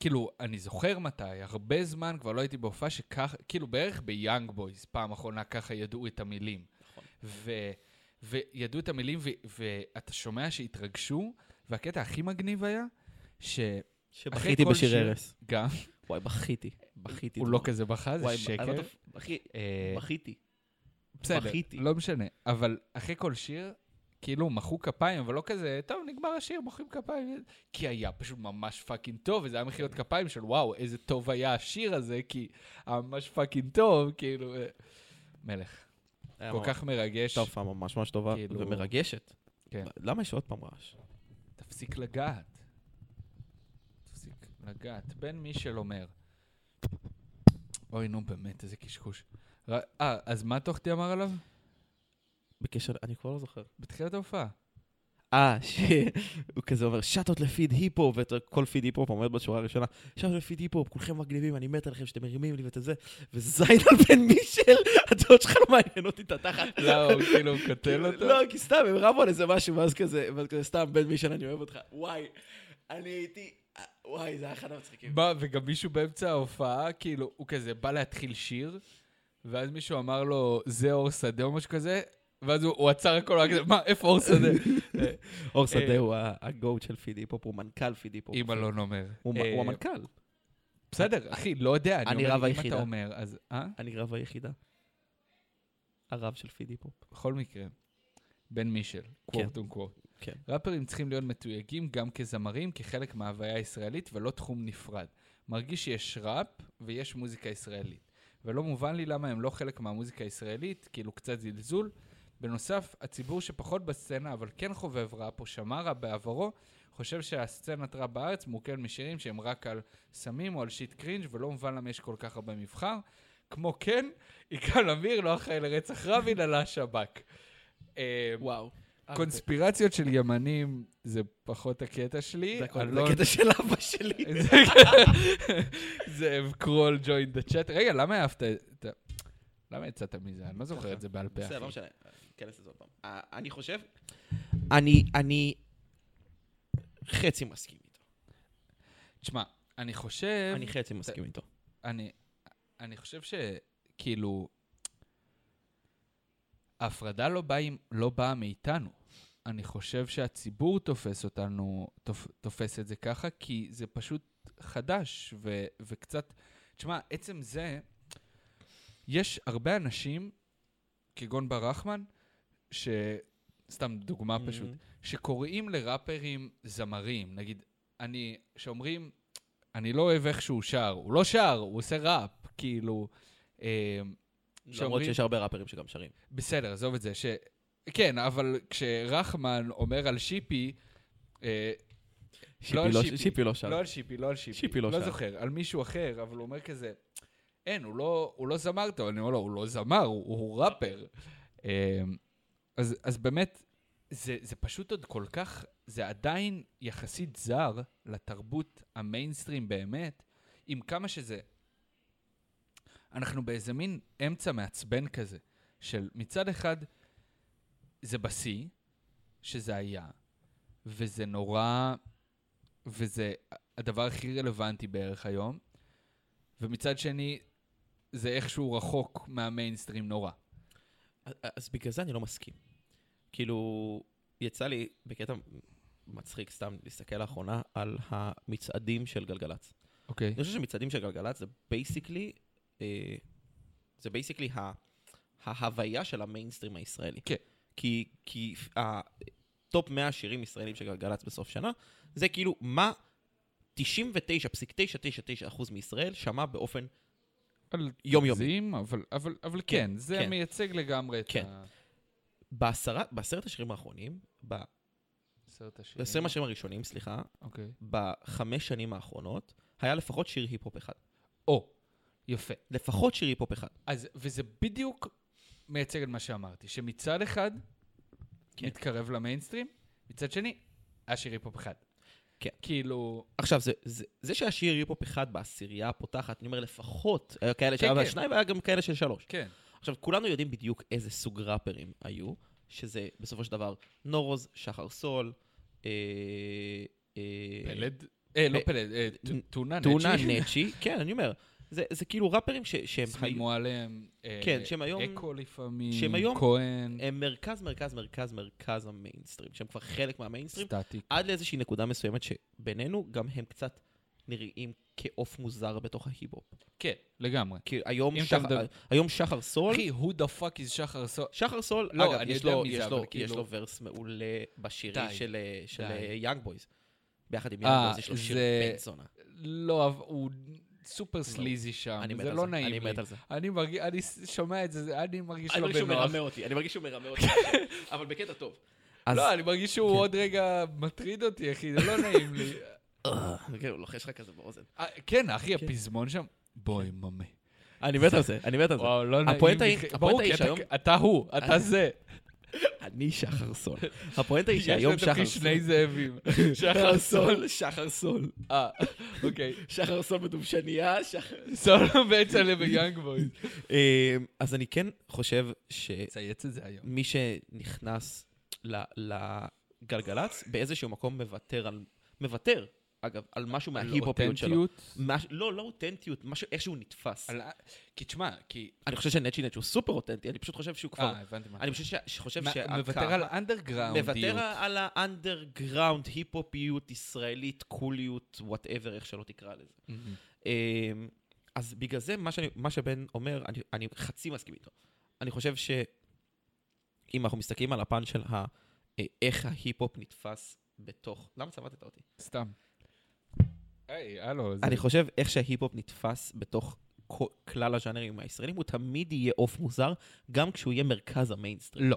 S1: כאילו, אני זוכר מתי, הרבה זמן כבר לא הייתי בהופעה שככה, כאילו, בערך ביאנג בויז, פעם אחרונה ככה ידעו את המילים.
S2: נכון.
S1: ו, וידעו את המילים, ו, ואתה שומע שהתרגשו, והקטע הכי מגניב היה, שגם,
S2: שבכיתי
S1: כל
S2: בשיר
S1: שיר-
S2: ארס. וואי, בכיתי. בכיתי.
S1: הוא לא
S2: אתמול.
S1: כזה בכה, זה
S2: וואי, לא אבל
S1: שקר.
S2: אתה- אחי,
S1: אה,
S2: בכיתי.
S1: בסדר,
S2: בכיתי.
S1: לא משנה. אבל אחרי כל שיר, כאילו, מחאו כפיים, אבל לא כזה, טוב, נגמר השיר, מוחאים כפיים. כי היה פשוט ממש פאקינג טוב, וזה היה מחיאות כפיים של וואו, איזה טוב היה השיר הזה, כי היה ממש פאקינג טוב, כאילו... אה, מלך.
S2: היה
S1: כל
S2: ממש-
S1: כך מרגש.
S2: הייתה הופעה ממש ממש טובה
S1: כאילו-
S2: ומרגשת.
S1: כן.
S2: למה יש עוד פעם רעש?
S1: תפסיק לגעת. תפסיק לגעת. בן מישל אומר. אוי, נו, באמת, איזה קשקוש. ר- אה, אז מה תוכתי אמר עליו?
S2: בקשר, אני כבר לא זוכר.
S1: בתחילת ההופעה.
S2: אה, שהוא כזה אומר, שאטות לפיד היפ-הופ, וכל פיד היפ-הופ עומד בשורה הראשונה, שאטות לפיד היפ-הופ, כולכם מגניבים, אני מת עליכם שאתם מרימים לי ואת זה, וזין על בן מישל, הדעות שלך לא מעניין אותי את התחת.
S1: לא, הוא כאילו מקטל אותו.
S2: לא, כי סתם, הם רבו על איזה משהו, ואז כזה, ואז כזה, סתם, בן מישל, אני אוהב אותך. וואי, אני הייתי, וואי, זה היה אחד המצחיקים.
S1: מה, וגם מישהו באמצע ההופעה, כאילו, הוא כזה בא להתחיל שיר, ואז מישהו אמר לו, זה אור שדה או משהו כזה, ואז הוא, הוא עצר הכל, הוא היה כזה, מה, איפה אור שדה? אה,
S2: אור שדה הוא ה- הגוט של פיד היפ-הופ, הוא מנכ"ל פיד היפ-הופ.
S1: אם אלון אומר.
S2: הוא מ-
S1: אה,
S2: הוא המנכ"ל,
S1: בסדר, אחי, לא יודע,
S2: אני
S1: אני
S2: רב
S1: אומר, אם
S2: היחידה.
S1: אתה אומר, אז... אה?
S2: אני רב היחידה. הרב של פיד היפ-הופ.
S1: בכל מקרה, בן מישל, קוורט אונקוורט.
S2: כן.
S1: ראפרים צריכים להיות מתויגים גם כזמרים, כחלק מההוויה הישראלית ולא תחום נפרד. מרגיש שיש ראפ ויש מוזיקה ישראלית. ולא מובן לי למה הם לא חלק מהמוזיקה הישראלית, כאילו קצת זלזול. בנוסף, הציבור שפחות בסצנה אבל כן חובב ראפ או שמע ראפ בעברו, חושב שהסצנת ראפ בארץ מורכבת משירים שהם רק על סמים או על שיט קרינג' ולא מובן למה יש כל כך הרבה מבחר. כמו כן, יגאל עמיר לא אחראי לרצח רבין, אלא השב"כ. אה,
S2: וואו. אוקיי.
S1: קונספירציות של ימנים זה פחות הקטע שלי.
S2: זה הכל-
S1: אלון-
S2: זה קטע של אבא שלי.
S1: זה- זה קרול join the chat. רגע, למה אהבת את ה... למה יצאת מזה? אני לא זוכר את זה בעל פה,
S2: בסדר, לא
S1: אחי.
S2: משנה, ניכנס לזה עוד פעם. אה, אני חושב... אני, אני חצי מסכים איתו.
S1: תשמע, אני חושב...
S2: אני חצי מסכים איתו.
S1: אני, אני חושב שכאילו, ההפרדה לא באה לא בא מאיתנו. אני חושב שהציבור תופס אותנו, תופ, תופס את זה ככה, כי זה פשוט חדש ו, וקצת... תשמע, עצם זה, יש הרבה אנשים, כגון ברחמן, ש... סתם דוגמה פשוט,
S2: Mm-hmm.
S1: שקוראים לראפרים זמרים, נגיד, אני, שאומרים, אני לא אוהב איך שהוא שר, הוא לא שר, הוא עושה ראפ, כאילו, אה,
S2: למרות
S1: שאומרים-
S2: שיש הרבה ראפרים שגם שרים.
S1: לא בסדר, עזוב את זה, ש... כן, אבל כשרחמן אומר על שיפי, אה,
S2: שיפי
S1: על
S2: לא-
S1: שיפי.
S2: שיפי לא שר.
S1: לא על שיפי, לא על שיפי,
S2: שיפי לא
S1: לא
S2: שר.
S1: זוכר, על מישהו אחר, אבל הוא אומר כזה, אין, הוא לא, הוא לא זמר טוב, אני אומר לו, הוא לא זמר, הוא, הוא ראפר. אה, אז, אז באמת, זה, זה פשוט עוד כל כך, זה עדיין יחסית זר לתרבות המיינסטרים באמת, עם כמה שזה... אנחנו באיזה מין אמצע מעצבן כזה, של מצד אחד, זה בשיא, שזה היה, וזה נורא, וזה הדבר הכי רלוונטי בערך היום, ומצד שני, זה איכשהו רחוק מהמיינסטרים נורא.
S2: אז- אז בגלל זה אני לא מסכים. כאילו, יצא לי בקטע מצחיק סתם להסתכל לאחרונה על המצעדים של גלגלצ.
S1: אוקיי.
S2: אני חושב שמצעדים של גלגלצ זה בייסיקלי, אה, זה בייסיקלי ה, ההוויה של המיינסטרים הישראלי.
S1: כן.
S2: כי, כי הטופ 100 שירים ישראלים של גלגלצ בסוף שנה, זה כאילו מה 99.999% מישראל שמע באופן יומיומי.
S1: זים, אבל, אבל, אבל כן,
S2: כן,
S1: זה
S2: כן.
S1: מייצג לגמרי את
S2: כן.
S1: ה-
S2: בעשרה, בעשרת השירים האחרונים, ב-
S1: עשרת השירים.
S2: בעשרים השירים הראשונים, סליחה,
S1: אוקיי.
S2: בחמש שנים האחרונות, היה לפחות שיר היפ-הופ אחד.
S1: או, יפה.
S2: לפחות שיר היפ-הופ אחד.
S1: אז, וזה בדיוק מייצג את מה שאמרתי, שמצד אחד,
S2: כן.
S1: מתקרב למיינסטרים, מצד שני, השיר היפ-הופ אחד.
S2: כן.
S1: כאילו,
S2: עכשיו, זה, זה, זה שהיה שיר היפ-הופ אחד בעשירייה הפותחת, אני אומר לפחות, היו כאלה שהיה
S1: כן.
S2: כן, שניים והיה גם כאלה של שלוש.
S1: כן.
S2: עכשיו, כולנו יודעים בדיוק איזה סוג ראפרים היו, שזה בסופו של דבר נורוז, שחר סול, אה, אה,
S1: פלד? אה, לא
S2: אה,
S1: פלד, אה, ט-
S2: נ-
S1: טונה נצ'י.
S2: טונה, נצ'י, כן, אני אומר, זה, זה כאילו ראפרים ש, שהם,
S1: סמי
S2: היו,
S1: מועלם, אה,
S2: כן, שהם היום-
S1: אקו לפעמים,
S2: שהם היום- אה,
S1: כהן,
S2: הם מרכז, מרכז, מרכז, מרכז המיינסטרים, שהם כבר חלק מהמיינסטרים,
S1: סטטיק.
S2: עד לאיזושהי נקודה מסוימת שבינינו גם הם קצת נראים כעוף מוזר בתוך ההיפ-הופ.
S1: כן, לגמרי.
S2: כי היום,
S1: אם אתה
S2: שח...
S1: מדבר-
S2: היום שחר סול,
S1: אחי, who the fuck is שחר סול?
S2: שחר סול,
S1: לא,
S2: אגב,
S1: אני
S2: יש
S1: יודע
S2: לו,
S1: מי זה,
S2: יש,
S1: אבל
S2: לו,
S1: כאילו-
S2: יש לו ורס מעולה בשירי
S1: די,
S2: של, אה, של
S1: די.
S2: אה, יאנג בויז. ביחד עם
S1: אה,
S2: יאנג בויז יש לו שיר
S1: זה-
S2: בן זונה.
S1: לא, אבל הוא סופר סליזי שם,
S2: לא, אני מת
S1: זה
S2: על
S1: לא
S2: זה,
S1: נעים לי.
S2: אני מת על זה.
S1: אני מרגיש, אני ס- שומע את זה, זה- אני מרגיש
S2: אני
S1: לא
S2: מרגיש שהוא
S1: בנוח.
S2: מרמה אותי, אני מרגיש שהוא מרמה אותי, אבל בקטע טוב. אז...
S1: לא, אני מרגיש שהוא עוד רגע מטריד אותי, אחי, זה לא נעים לי.
S2: כן, הוא לוחש לך כזה באוזן.
S1: אה, כן, אחי, הפזמון שם, בואי, ממי.
S2: אני מת על זה, אני מת על זה.
S1: וואו, לא נעים
S2: כן. הפואנטה
S1: לי.
S2: היא-
S1: אחי.
S2: הפואנטה
S1: ברור,
S2: היא
S1: כי אתה-
S2: שהיום- אה,
S1: אתה הוא, אתה
S2: אני-
S1: זה.
S2: אני שחר סול. הפואנטה היא
S1: יש
S2: שהיום
S1: לתוכי
S2: שחר
S1: שני
S2: סול...
S1: זאבים.
S2: שחר סול, שחר סול.
S1: אה, אוקיי.
S2: שחר סול בדובשניה, שחר...
S1: סולו בצ'לה ויאנג בויז.
S2: אה, אז אני כן חושב ש...
S1: צייץ את זה היום.
S2: מי שנכנס ל- לגלגלצ, באיזשהו מקום מוותר על... מוותר, אגב, על משהו מההיפ-הופיות שלו. מש... לא, לא אותנטיות, משהו, איך שהוא נתפס. על...
S1: כי תשמע, כי...
S2: אני חושב שנצ'י נצ'י הוא סופר אותנטי, אני פשוט חושב שהוא כבר...
S1: אה, הבנתי מה.
S2: נכון. אני פשוט ש... שחושב
S1: מה,
S2: שהקהל...
S1: מוותר על אנדרגראונדיות.
S2: מוותר על האנדרגראונד, היפ-הופיות, ישראלית, קוליות, וואטאבר, איך שלא תקרא לזה.
S1: מהמם.
S2: אמ, אז בגלל זה מה, שאני, מה שבן אומר, אני, אני חצי מסכים איתו. אני חושב שאם אנחנו מסתכלים על הפן של ה, אה, איך ההיפ-הופ נתפס בתוך... למה צמדת אותי?
S1: סתם. היי, הלו, זה...
S2: אני חושב איך שההיפ-הופ נתפס בתוך כל, כלל הז'אנרים הישראלים, הוא תמיד יהיה עוף מוזר, גם כשהוא יהיה מרכז המיינסטרים.
S1: לא.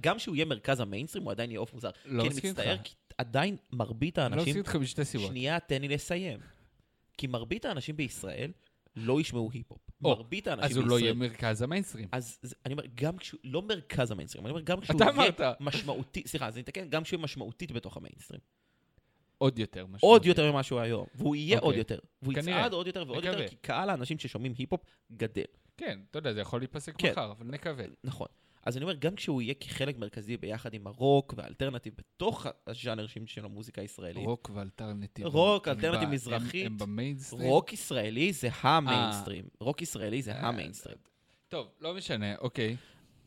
S2: גם כשהוא יהיה מרכז המיינסטרים, הוא עדיין יהיה עוף מוזר.
S1: לא
S2: כי אני
S1: מסכים איתך.
S2: מצטער, כי עדיין מרבית
S1: אני לא
S2: האנשים...
S1: מסכים איתך משתי סיבות.
S2: שנייה, תן לי לסיים. כי מרבית האנשים בישראל לא ישמעו היפ-הופ.
S1: או,
S2: מרבית האנשים
S1: אז
S2: בישראל...
S1: הוא לא יהיה מרכז המיינסטרים.
S2: אז זה- אני אומר, גם כשהוא... לא מרכז המיינסטרים, אני אומר, גם כשהוא
S1: אתה
S2: יהיה
S1: אמרת.
S2: משמעותי... סליחה, אז אני אתקן, גם כשהוא יהיה משמעותית בתוך המיינסטרים.
S1: עוד יותר משמעותי.
S2: עוד יותר ממה שהוא היום. והוא יהיה
S1: אוקיי.
S2: עוד יותר. והוא
S1: כנראה.
S2: יצעד עוד יותר ועוד יותר,
S1: נקווה.
S2: כי קהל האנשים ששומעים היפ-הופ גדל.
S1: כן, אתה יודע, זה יכול להיפסק
S2: כן.
S1: מחר, אבל נקווה.
S2: נכון. אז אני אומר, גם כשהוא יהיה כחלק מרכזי ביחד עם הרוק והאלטרנטיב בתוך הז'אנר של המוזיקה הישראלית,
S1: רוק ואלטרנטיב.
S2: רוק,
S1: הם
S2: אלטרנטיב
S1: ב- הם-
S2: מזרחית.
S1: הם במיינסטרים.
S2: רוק ישראלי זה המיינסטרים. רוק ישראלי זה
S1: אה,
S2: המיינסטרים.
S1: טוב, לא משנה, אוקיי.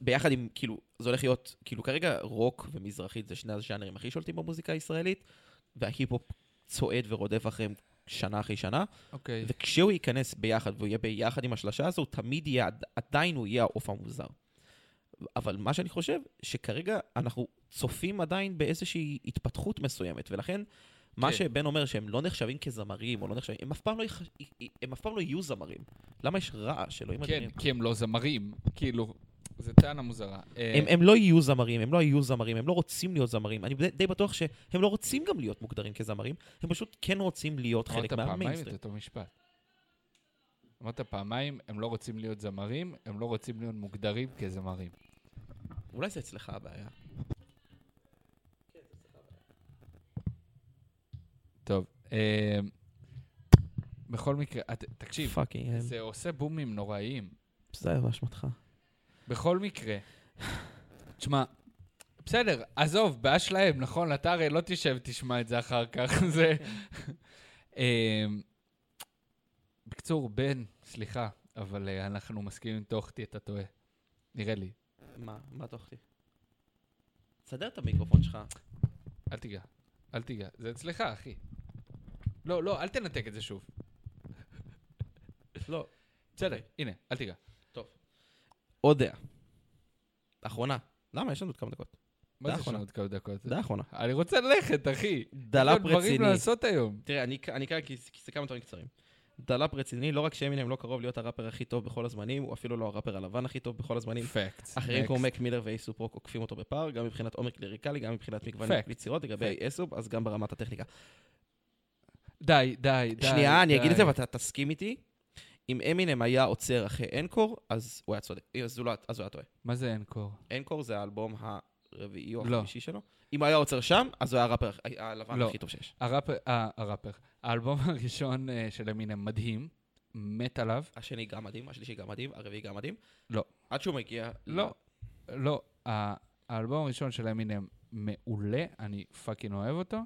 S2: ביחד עם, כאילו, זה הולך להיות, כאילו, כרגע רוק ומזרחית זה שני הז'אנרים הכי שולטים במוזיקה הישראלית, וההיפ-הופ צועד ורודף אחריהם שנה אחרי שנה,
S1: אוקיי.
S2: וכשהוא ייכנס ביחד והוא יהיה ביחד עם השלשה הזו, הוא תמיד יהיה, עד- עדיין הוא יהיה העוף המוזר. אבל מה שאני חושב, שכרגע אנחנו צופים עדיין באיזושהי התפתחות מסוימת, ולכן... מה
S1: כן.
S2: שבן אומר שהם לא נחשבים כזמרים, או לא נחשבים, הם אף פעם לא, יח... הם אף פעם לא יהיו זמרים. למה יש רעש, אלוהים
S1: כן,
S2: אדירים?
S1: כי הם לא זמרים, כאילו, זו טענה מוזרה. אה,
S2: הם, הם לא יהיו זמרים, הם לא היו זמרים, הם לא רוצים להיות זמרים. אני די, די בטוח שהם לא רוצים גם להיות מוגדרים כזמרים, הם פשוט כן רוצים להיות חלק
S1: אמרת פעמיים את
S2: מהמיינסטרים.
S1: אותו משפט. אמרת פעמיים, הם לא רוצים להיות זמרים, הם לא רוצים להיות מוגדרים כזמרים.
S2: אולי זה אצלך הבעיה.
S1: טוב, אה, בכל מקרה, את- תקשיב,
S2: פאקינג,
S1: זה עושה בומים נוראיים.
S2: זה היה באשמתך.
S1: בכל מקרה, תשמע, בסדר, עזוב, בעיה שלהם, נכון? אתה הרי לא תשב, תשמע את זה אחר כך, זה...
S2: כן.
S1: אמ, בקיצור, בן, סליחה, אבל אה, אנחנו מסכימים עם תוכתי, אתה טועה. נראה לי.
S2: מה? מה תוכתי? סדר את המיקרופון שלך.
S1: אל תיגע, אל תיגע. זה אצלך, אחי. לא, לא, אל תנתק את זה שוב.
S2: לא.
S1: בסדר, הנה, אל תיגע.
S2: עוד דעה. אחרונה. למה? יש לנו עוד כמה דקות.
S1: מה
S2: דעה
S1: זה יש לנו
S2: אחרונה.
S1: עוד כמה דקות?
S2: דעה אחרונה.
S1: אני רוצה ללכת, אחי. יש
S2: דלאפ
S1: לי עוד דברים
S2: לא רציני.
S1: לעשות היום.
S2: תראה, אני אני אקרא כי זה- כי זה כמה דברים קצרים. דלאפ רציני, לא רק שאמינם לא קרוב להיות הראפר הכי טוב בכל הזמנים, הוא אפילו לא הראפר הלבן הכי טוב בכל הזמנים.
S1: פקט.
S2: אחרים כמו מק מילר ואייסופ רוק עוקפים אותו בפער, גם מבחינת עומק ליריקלי, גם מבחינת מגוון
S1: Fact.
S2: יצירות, לגבי אייסופ, אז גם ברמת הטכניקה.
S1: די, די, די.
S2: שנייה, אני אגיד את
S1: די.
S2: זה ואתה תסכים איתי. אם אמינם היה עוצר אחרי אנקור, אז הוא היה צודק, אז הוא לא- אז הוא היה טועה.
S1: מה זה אנקור?
S2: אנקור זה האלבום הרביעי או
S1: לא.
S2: החמישי שלו. אם הוא היה עוצר שם, אז הוא היה הראפר הכ- הלבן
S1: לא.
S2: הכי טוב שיש.
S1: הראפר, אה, הראפר. האלבום הראשון אה, של אמינם מדהים, מת עליו.
S2: השני גם מדהים, השלישי גם מדהים, הרביעי גם מדהים.
S1: לא.
S2: עד שהוא מגיע...
S1: לא, לא, ה- האלבום הראשון של אמינם מעולה, אני פאקינג אוהב אותו.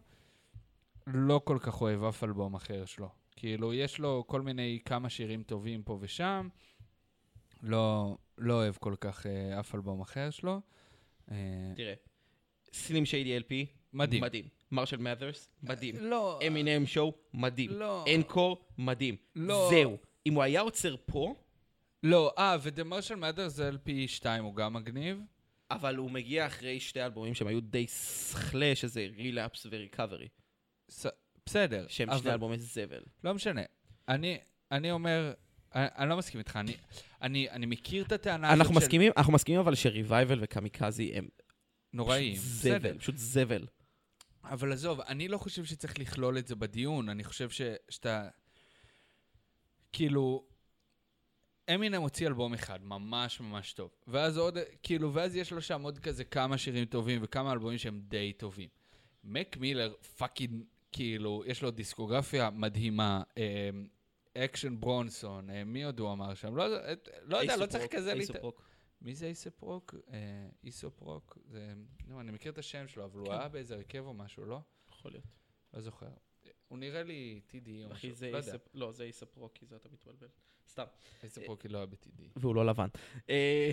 S1: לא כל כך אוהב אף אלבום אחר שלו. כאילו, יש לו כל מיני כמה שירים טובים פה ושם. לא, לא אוהב כל כך אה, אף אלבום אחר שלו. אה,
S2: תראה, סלים שיידי LP,
S1: מדהים.
S2: מדהים. מרשל מאת'רס, מדהים.
S1: לא,
S2: אמינם שואו, מדהים.
S1: לא.
S2: אנקור, מדהים.
S1: לא.
S2: זהו. אם הוא היה עוצר פה,
S1: לא, אה, ודה מרשל מאדר זה LP 2, הוא גם מגניב.
S2: אבל הוא מגיע אחרי שתי אלבומים שהם היו די סכלה, שזה רילאפס וריקאברי.
S1: ס- בסדר.
S2: שהם
S1: אבל-
S2: שני אלבומי זבל.
S1: לא משנה. אני, אני אומר, אני, אני לא מסכים איתך, אני, אני, אני מכיר את הטענה הזאת
S2: אנחנו מסכימים, אנחנו מסכימים אבל שריווייבל וקמיקזי הם פשוט
S1: של נוראים. בסדר.
S2: זבל, פשוט זבל.
S1: אבל עזוב, אני לא חושב שצריך לכלול את זה בדיון, אני חושב ש, שאתה... כאילו... אמינם הוציא אלבום אחד, ממש ממש טוב. ואז עוד, כאילו, ואז יש לו שם עוד כזה כמה שירים טובים וכמה אלבומים שהם די טובים. מק מילר פאקינג, כאילו, יש לו דיסקוגרפיה מדהימה. אה, אקשן ברונסון, אה, מי עוד הוא אמר שם? לא, יודע- את- לא יודע, לא
S2: איסופ
S1: צריך
S2: רוק,
S1: כזה...
S2: איסופ
S1: להת-
S2: רוק.
S1: מי זה איסופ רוק? אה, איסופ רוק? זה... נו, אני מכיר את השם שלו, אבל הוא
S2: כן.
S1: היה באיזה הרכב או משהו, לא?
S2: יכול להיות.
S1: לא זוכר. הוא נראה לי TD או משהו,
S3: אחי, זה
S1: לא יודע.
S3: איספ... לא, זה איספ רוק, כי זה אתה מתבלבל. סתם.
S1: איסופ רוק היא לא היה ב-TD.
S2: והוא לא לבן.
S3: אה,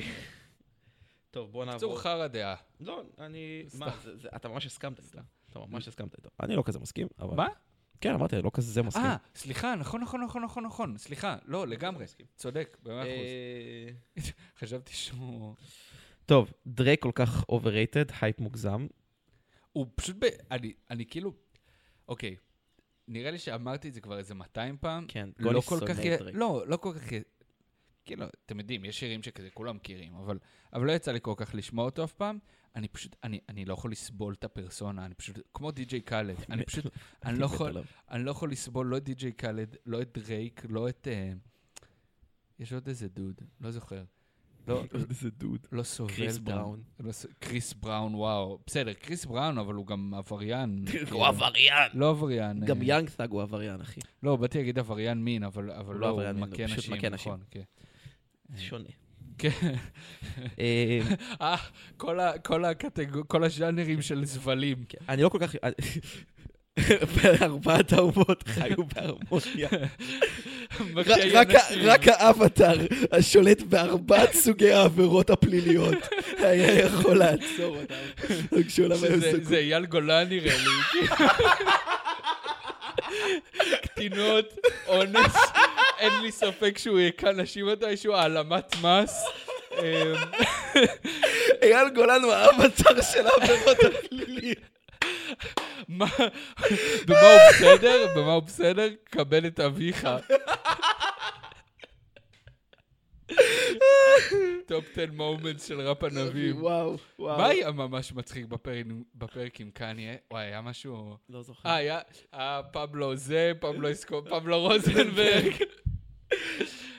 S3: טוב, בוא נעבור.
S1: בקיצור, חרא דעה.
S3: לא, אני...
S1: סתם.
S3: מה, זה- זה- אתה ממש הסכמת איתה.
S2: סתם. אתה ממש הסכמת איתו. אני לא כזה מסכים, אבל...
S1: מה?
S2: כן, אמרתי, אני לא כזה מסכים.
S1: אה, סליחה, נכון, נכון, נכון, נכון, נכון. סליחה, לא, לגמרי.
S3: מסכים.
S1: צודק, במאה אחוז.
S3: אה,
S1: חשבתי שהוא...
S2: טוב, דרייק כל כך אוברייטד, הייפ מוגזם.
S1: הוא פשוט ב... אני- אני כאילו... אוקיי, נראה לי שאמרתי את זה כבר איזה 200 פעם.
S2: כן,
S1: לא כל כך... י- לא, לא כל כך... י- כאילו, אתם יודעים, יש שירים שכזה כולם מכירים, אבל, אבל לא יצא לי כל כך לשמוע אותו אף פעם. אני פשוט, אני, אני לא יכול לסבול את הפרסונה, אני פשוט, כמו די.ג'יי קאלד, אני פשוט, אני לא יכול, אני לא יכול לסבול לא את די.ג'יי קאלד, לא את דרייק, לא את... אה, יש עוד איזה דוד, לא זוכר. לא,
S2: איזה דוד.
S1: לא סובל את
S2: קריס
S1: ה-
S2: בראון.
S1: לא ס- קריס בראון, וואו. בסדר, קריס בראון, אבל הוא גם עבריין. כאילו.
S2: הוא עבריין.
S1: לא עבריין.
S2: גם
S1: אה,
S2: יאנג סאג הוא עבריין, אחי.
S1: לא, באתי להגיד עבריין מין, אבל אבל
S2: לא
S1: לא, הוא
S2: עבריין מין, הוא
S1: מכה
S2: פשוט
S1: נשים,
S2: מכה נשים.
S1: נכון. כן.
S2: זה שונה.
S1: כן.
S2: אה,
S1: אה, כל ה- כל הקטגור- כל הז'אנרים של זבלים.
S2: כן, אני לא כל כך... ארבעת האומות חיו בהרמוניה. רק-
S1: מכה
S2: רק ה-
S1: נשים.
S2: רק האבטר השולט בארבעת סוגי העבירות הפליליות היה יכול לעצור אותם. רק שעולם היה
S1: שזה-
S2: סגור.
S1: זה אייל גולן נראה לי. קטינות, אונס, אין לי ספק שהוא יכה נשים מתישהו, העלמת מס. אמ,
S2: אייל גולן הוא האבטר של העבירות הפליליות.
S1: מה, במה הוא בסדר? במה הוא בסדר? קבל את אביך. טופ 10 מומנטס של ראפ ענבים.
S2: וואו, וואו.
S1: מה היה ממש מצחיק בפרק- בפרק עם קניה? וואי, היה משהו...
S2: לא זוכר.
S1: אה, היה אה, פבלו זה, פבלו אסקו, פבלו רוזנברג.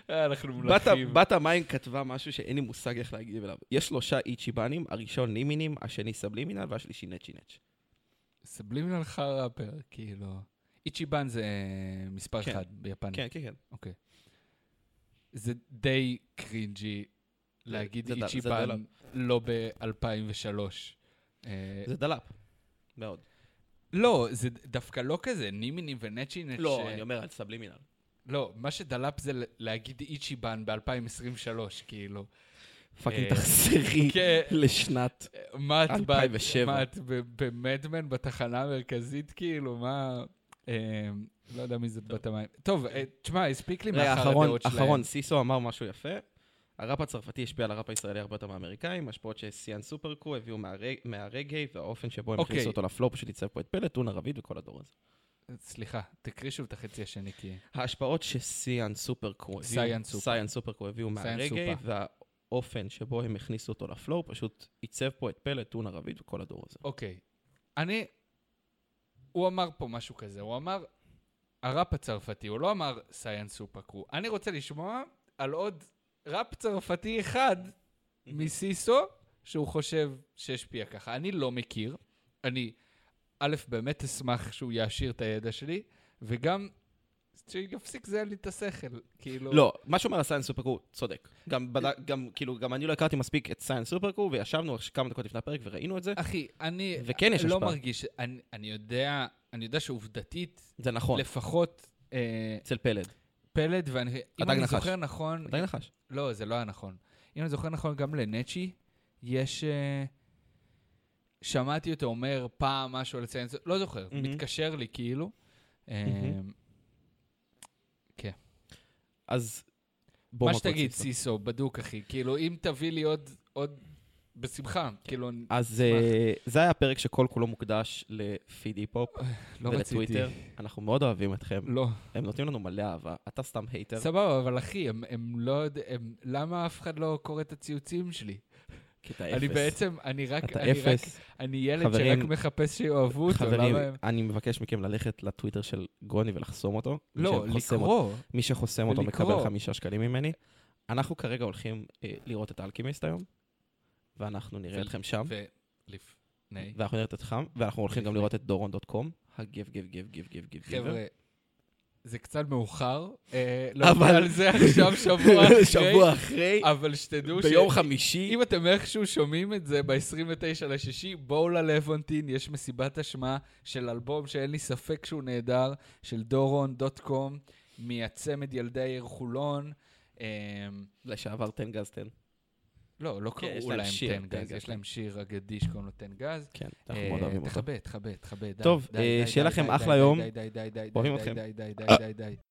S1: אה, אנחנו
S2: בת-
S1: מלכים.
S2: בת המים כתבה משהו שאין לי מושג איך להגיב אליו. יש שלושה איצ'יבנים, הראשון נימינים, השני סבלימינל והשלישי נצ'י נצ'.
S1: סבלימינל חרא פר, כאילו. איצ'יבן זה אה, מספר
S2: כן.
S1: אחד ביפנית.
S2: כן, כן, כן.
S1: אוקיי. זה די קרינג'י להגיד
S2: זה ד- זה
S1: איצ'יבן
S2: דלאפ.
S1: לא ב-2003.
S2: זה דלאפ. מאוד.
S1: לא, זה דווקא לא כזה, נימינים ונצ'ינט.
S2: לא, אני אומר על סבלימינל.
S1: לא, מה שדלאפ זה ל- להגיד איצ'יבן ב-2023, כאילו.
S2: פאקינג
S1: אה,
S2: תחזרי
S1: כן.
S2: לשנת.
S1: מה את ב-
S2: 2007.
S1: מה את ב- במדמן בתחנה המרכזית, כאילו, מה... אה, לא יודע מי זאת בת המים. טוב, אה, תשמע, הספיק לי
S2: רגע,
S1: מאחר
S2: אחרון,
S1: הדעות שלהם.
S2: אחרון, סיסו אמר משהו יפה. הראפ הצרפתי השפיע על הראפ הישראלי הרבה יותר מהאמריקאים, השפעות שסיאן סופרקו הביאו מהרג- מהרגעי, והאופן שבו הם
S1: אוקיי.
S2: הכניסו אותו לפלואו פשוט ייצב פה את פלט, טונה ערבית וכל הדור הזה.
S1: סליחה, תקריא שוב את החצי השני, כי...
S2: ההשפעות שסיאן סופרקו הביאו,
S1: סיאן סופר.
S2: סיאן סופרקו הביאו
S1: סיאן
S2: מהרגעי, והאופן שבו הם הכניסו אותו לפלואו פשוט ייצב פה את פלט, טונה ערבית וכל הדור הזה.
S1: אוקיי. אני... הוא אמר פה משהו כזה, הוא אמר הראפ הצרפתי, הוא לא אמר סיין סופקרו. אני רוצה לשמוע על עוד ראפ צרפתי אחד מסיסו שהוא חושב שהשפיע ככה. אני לא מכיר. אני, א', באמת אשמח שהוא יעשיר את הידע שלי, וגם שיפסיק זה לי את השכל, כאילו...
S2: לא, מה שאומר הסיין סופרקו צודק. גם, בדק- גם, כאילו, גם אני לא הכרתי מספיק את סיין סופרקו, וישבנו כמה דקות לפני הפרק וראינו את זה,
S1: אחי, אני
S2: וכן יש
S1: לא
S2: השפעה.
S1: מרגיש, אני, אני יודע, אני יודע שעובדתית,
S2: זה נכון,
S1: לפחות... אה,
S2: אצל פלד.
S1: פלד, ואני... אם
S2: הדג
S1: אני
S2: נחש.
S1: זוכר נכון...
S2: עדיין נחש.
S1: לא, זה לא היה נכון. אם אני זוכר נכון, גם לנצ'י יש... אה, שמעתי אותו אומר פעם משהו על ציין... לא זוכר,
S2: מהמם.
S1: מתקשר לי כאילו. אה,
S2: מהמם. אז בוא
S1: מה
S2: מכות
S1: שתגיד,
S2: סיסו.
S1: סיסו, בדוק, אחי. כאילו, אם תביא לי עוד... עוד... בשמחה.
S2: כן.
S1: כאילו, אני
S2: אז אה, זה היה הפרק שכל כולו מוקדש לפיד היפ-הופ
S1: לא רציתי.
S2: אה, ולטוויטר. אנחנו מאוד אוהבים אתכם,
S1: לא.
S2: הם נותנים לנו מלא אהבה, אתה סתם הייטר.
S1: סבבה, אבל אחי, הם- הם לא... יודע- הם- למה אף אחד לא קורא את הציוצים שלי?
S2: כי אתה אפס.
S1: אני בעצם, אני רק...
S2: אתה
S1: אני רק-
S2: אפס.
S1: אני ילד
S2: חברים-
S1: שרק מחפש שיאהבו אותו,
S2: חברים,
S1: למה הם...
S2: אני מבקש מכם ללכת לטוויטר של גוני ולחסום אותו. מי
S1: לא,
S2: שחוסם
S1: לקרוא.
S2: מי שחוסם אותו
S1: ולקרוא.
S2: מקבל חמישה שקלים ממני. אנחנו כרגע הולכים אה, לראות את אלכימיסט היום, ואנחנו נראה
S1: ו-
S2: אתכם שם,
S1: ולפני.
S2: ואנחנו נראה אתכם, ואנחנו הולכים גם לראות את דורון דוט קום, הגב גב גב גב גב גב גבר.
S1: חבר'ה, זה קצת מאוחר, אה, לא
S2: אבל-
S1: אבל... על זה עכשיו שבוע אחרי,
S2: שבוע אחרי,
S1: אבל שתדעו
S2: ביום חמישי,
S1: אם אתם איכשהו שומעים את זה ב-29 לשישי, בואו ללוונטין, יש מסיבת השמעה של אלבום שאין לי ספק שהוא נהדר, של דורון דוט קום, מייצמד ילדי העיר חולון. אמ,
S2: לשעבר תן גז תן.
S1: לא, לא
S2: כן, יש
S1: קראו
S2: להם
S1: להם
S2: שיר,
S1: תן גז, יש להם שיר אגדי שקוראים לו תן גז.
S2: כן,
S1: אה,
S2: אנחנו מאוד אוהבים אותך.
S1: תכבד, תכבד, תכבד. די,
S2: טוב,
S1: די,
S2: אה,
S1: די,
S2: שיהיה
S1: די,
S2: לכם
S1: די,
S2: אחלה
S1: די,
S2: יום.
S1: די, די, די, די,
S2: אוהבים
S1: די,
S2: אתכם. אה.
S1: די, די, די, די.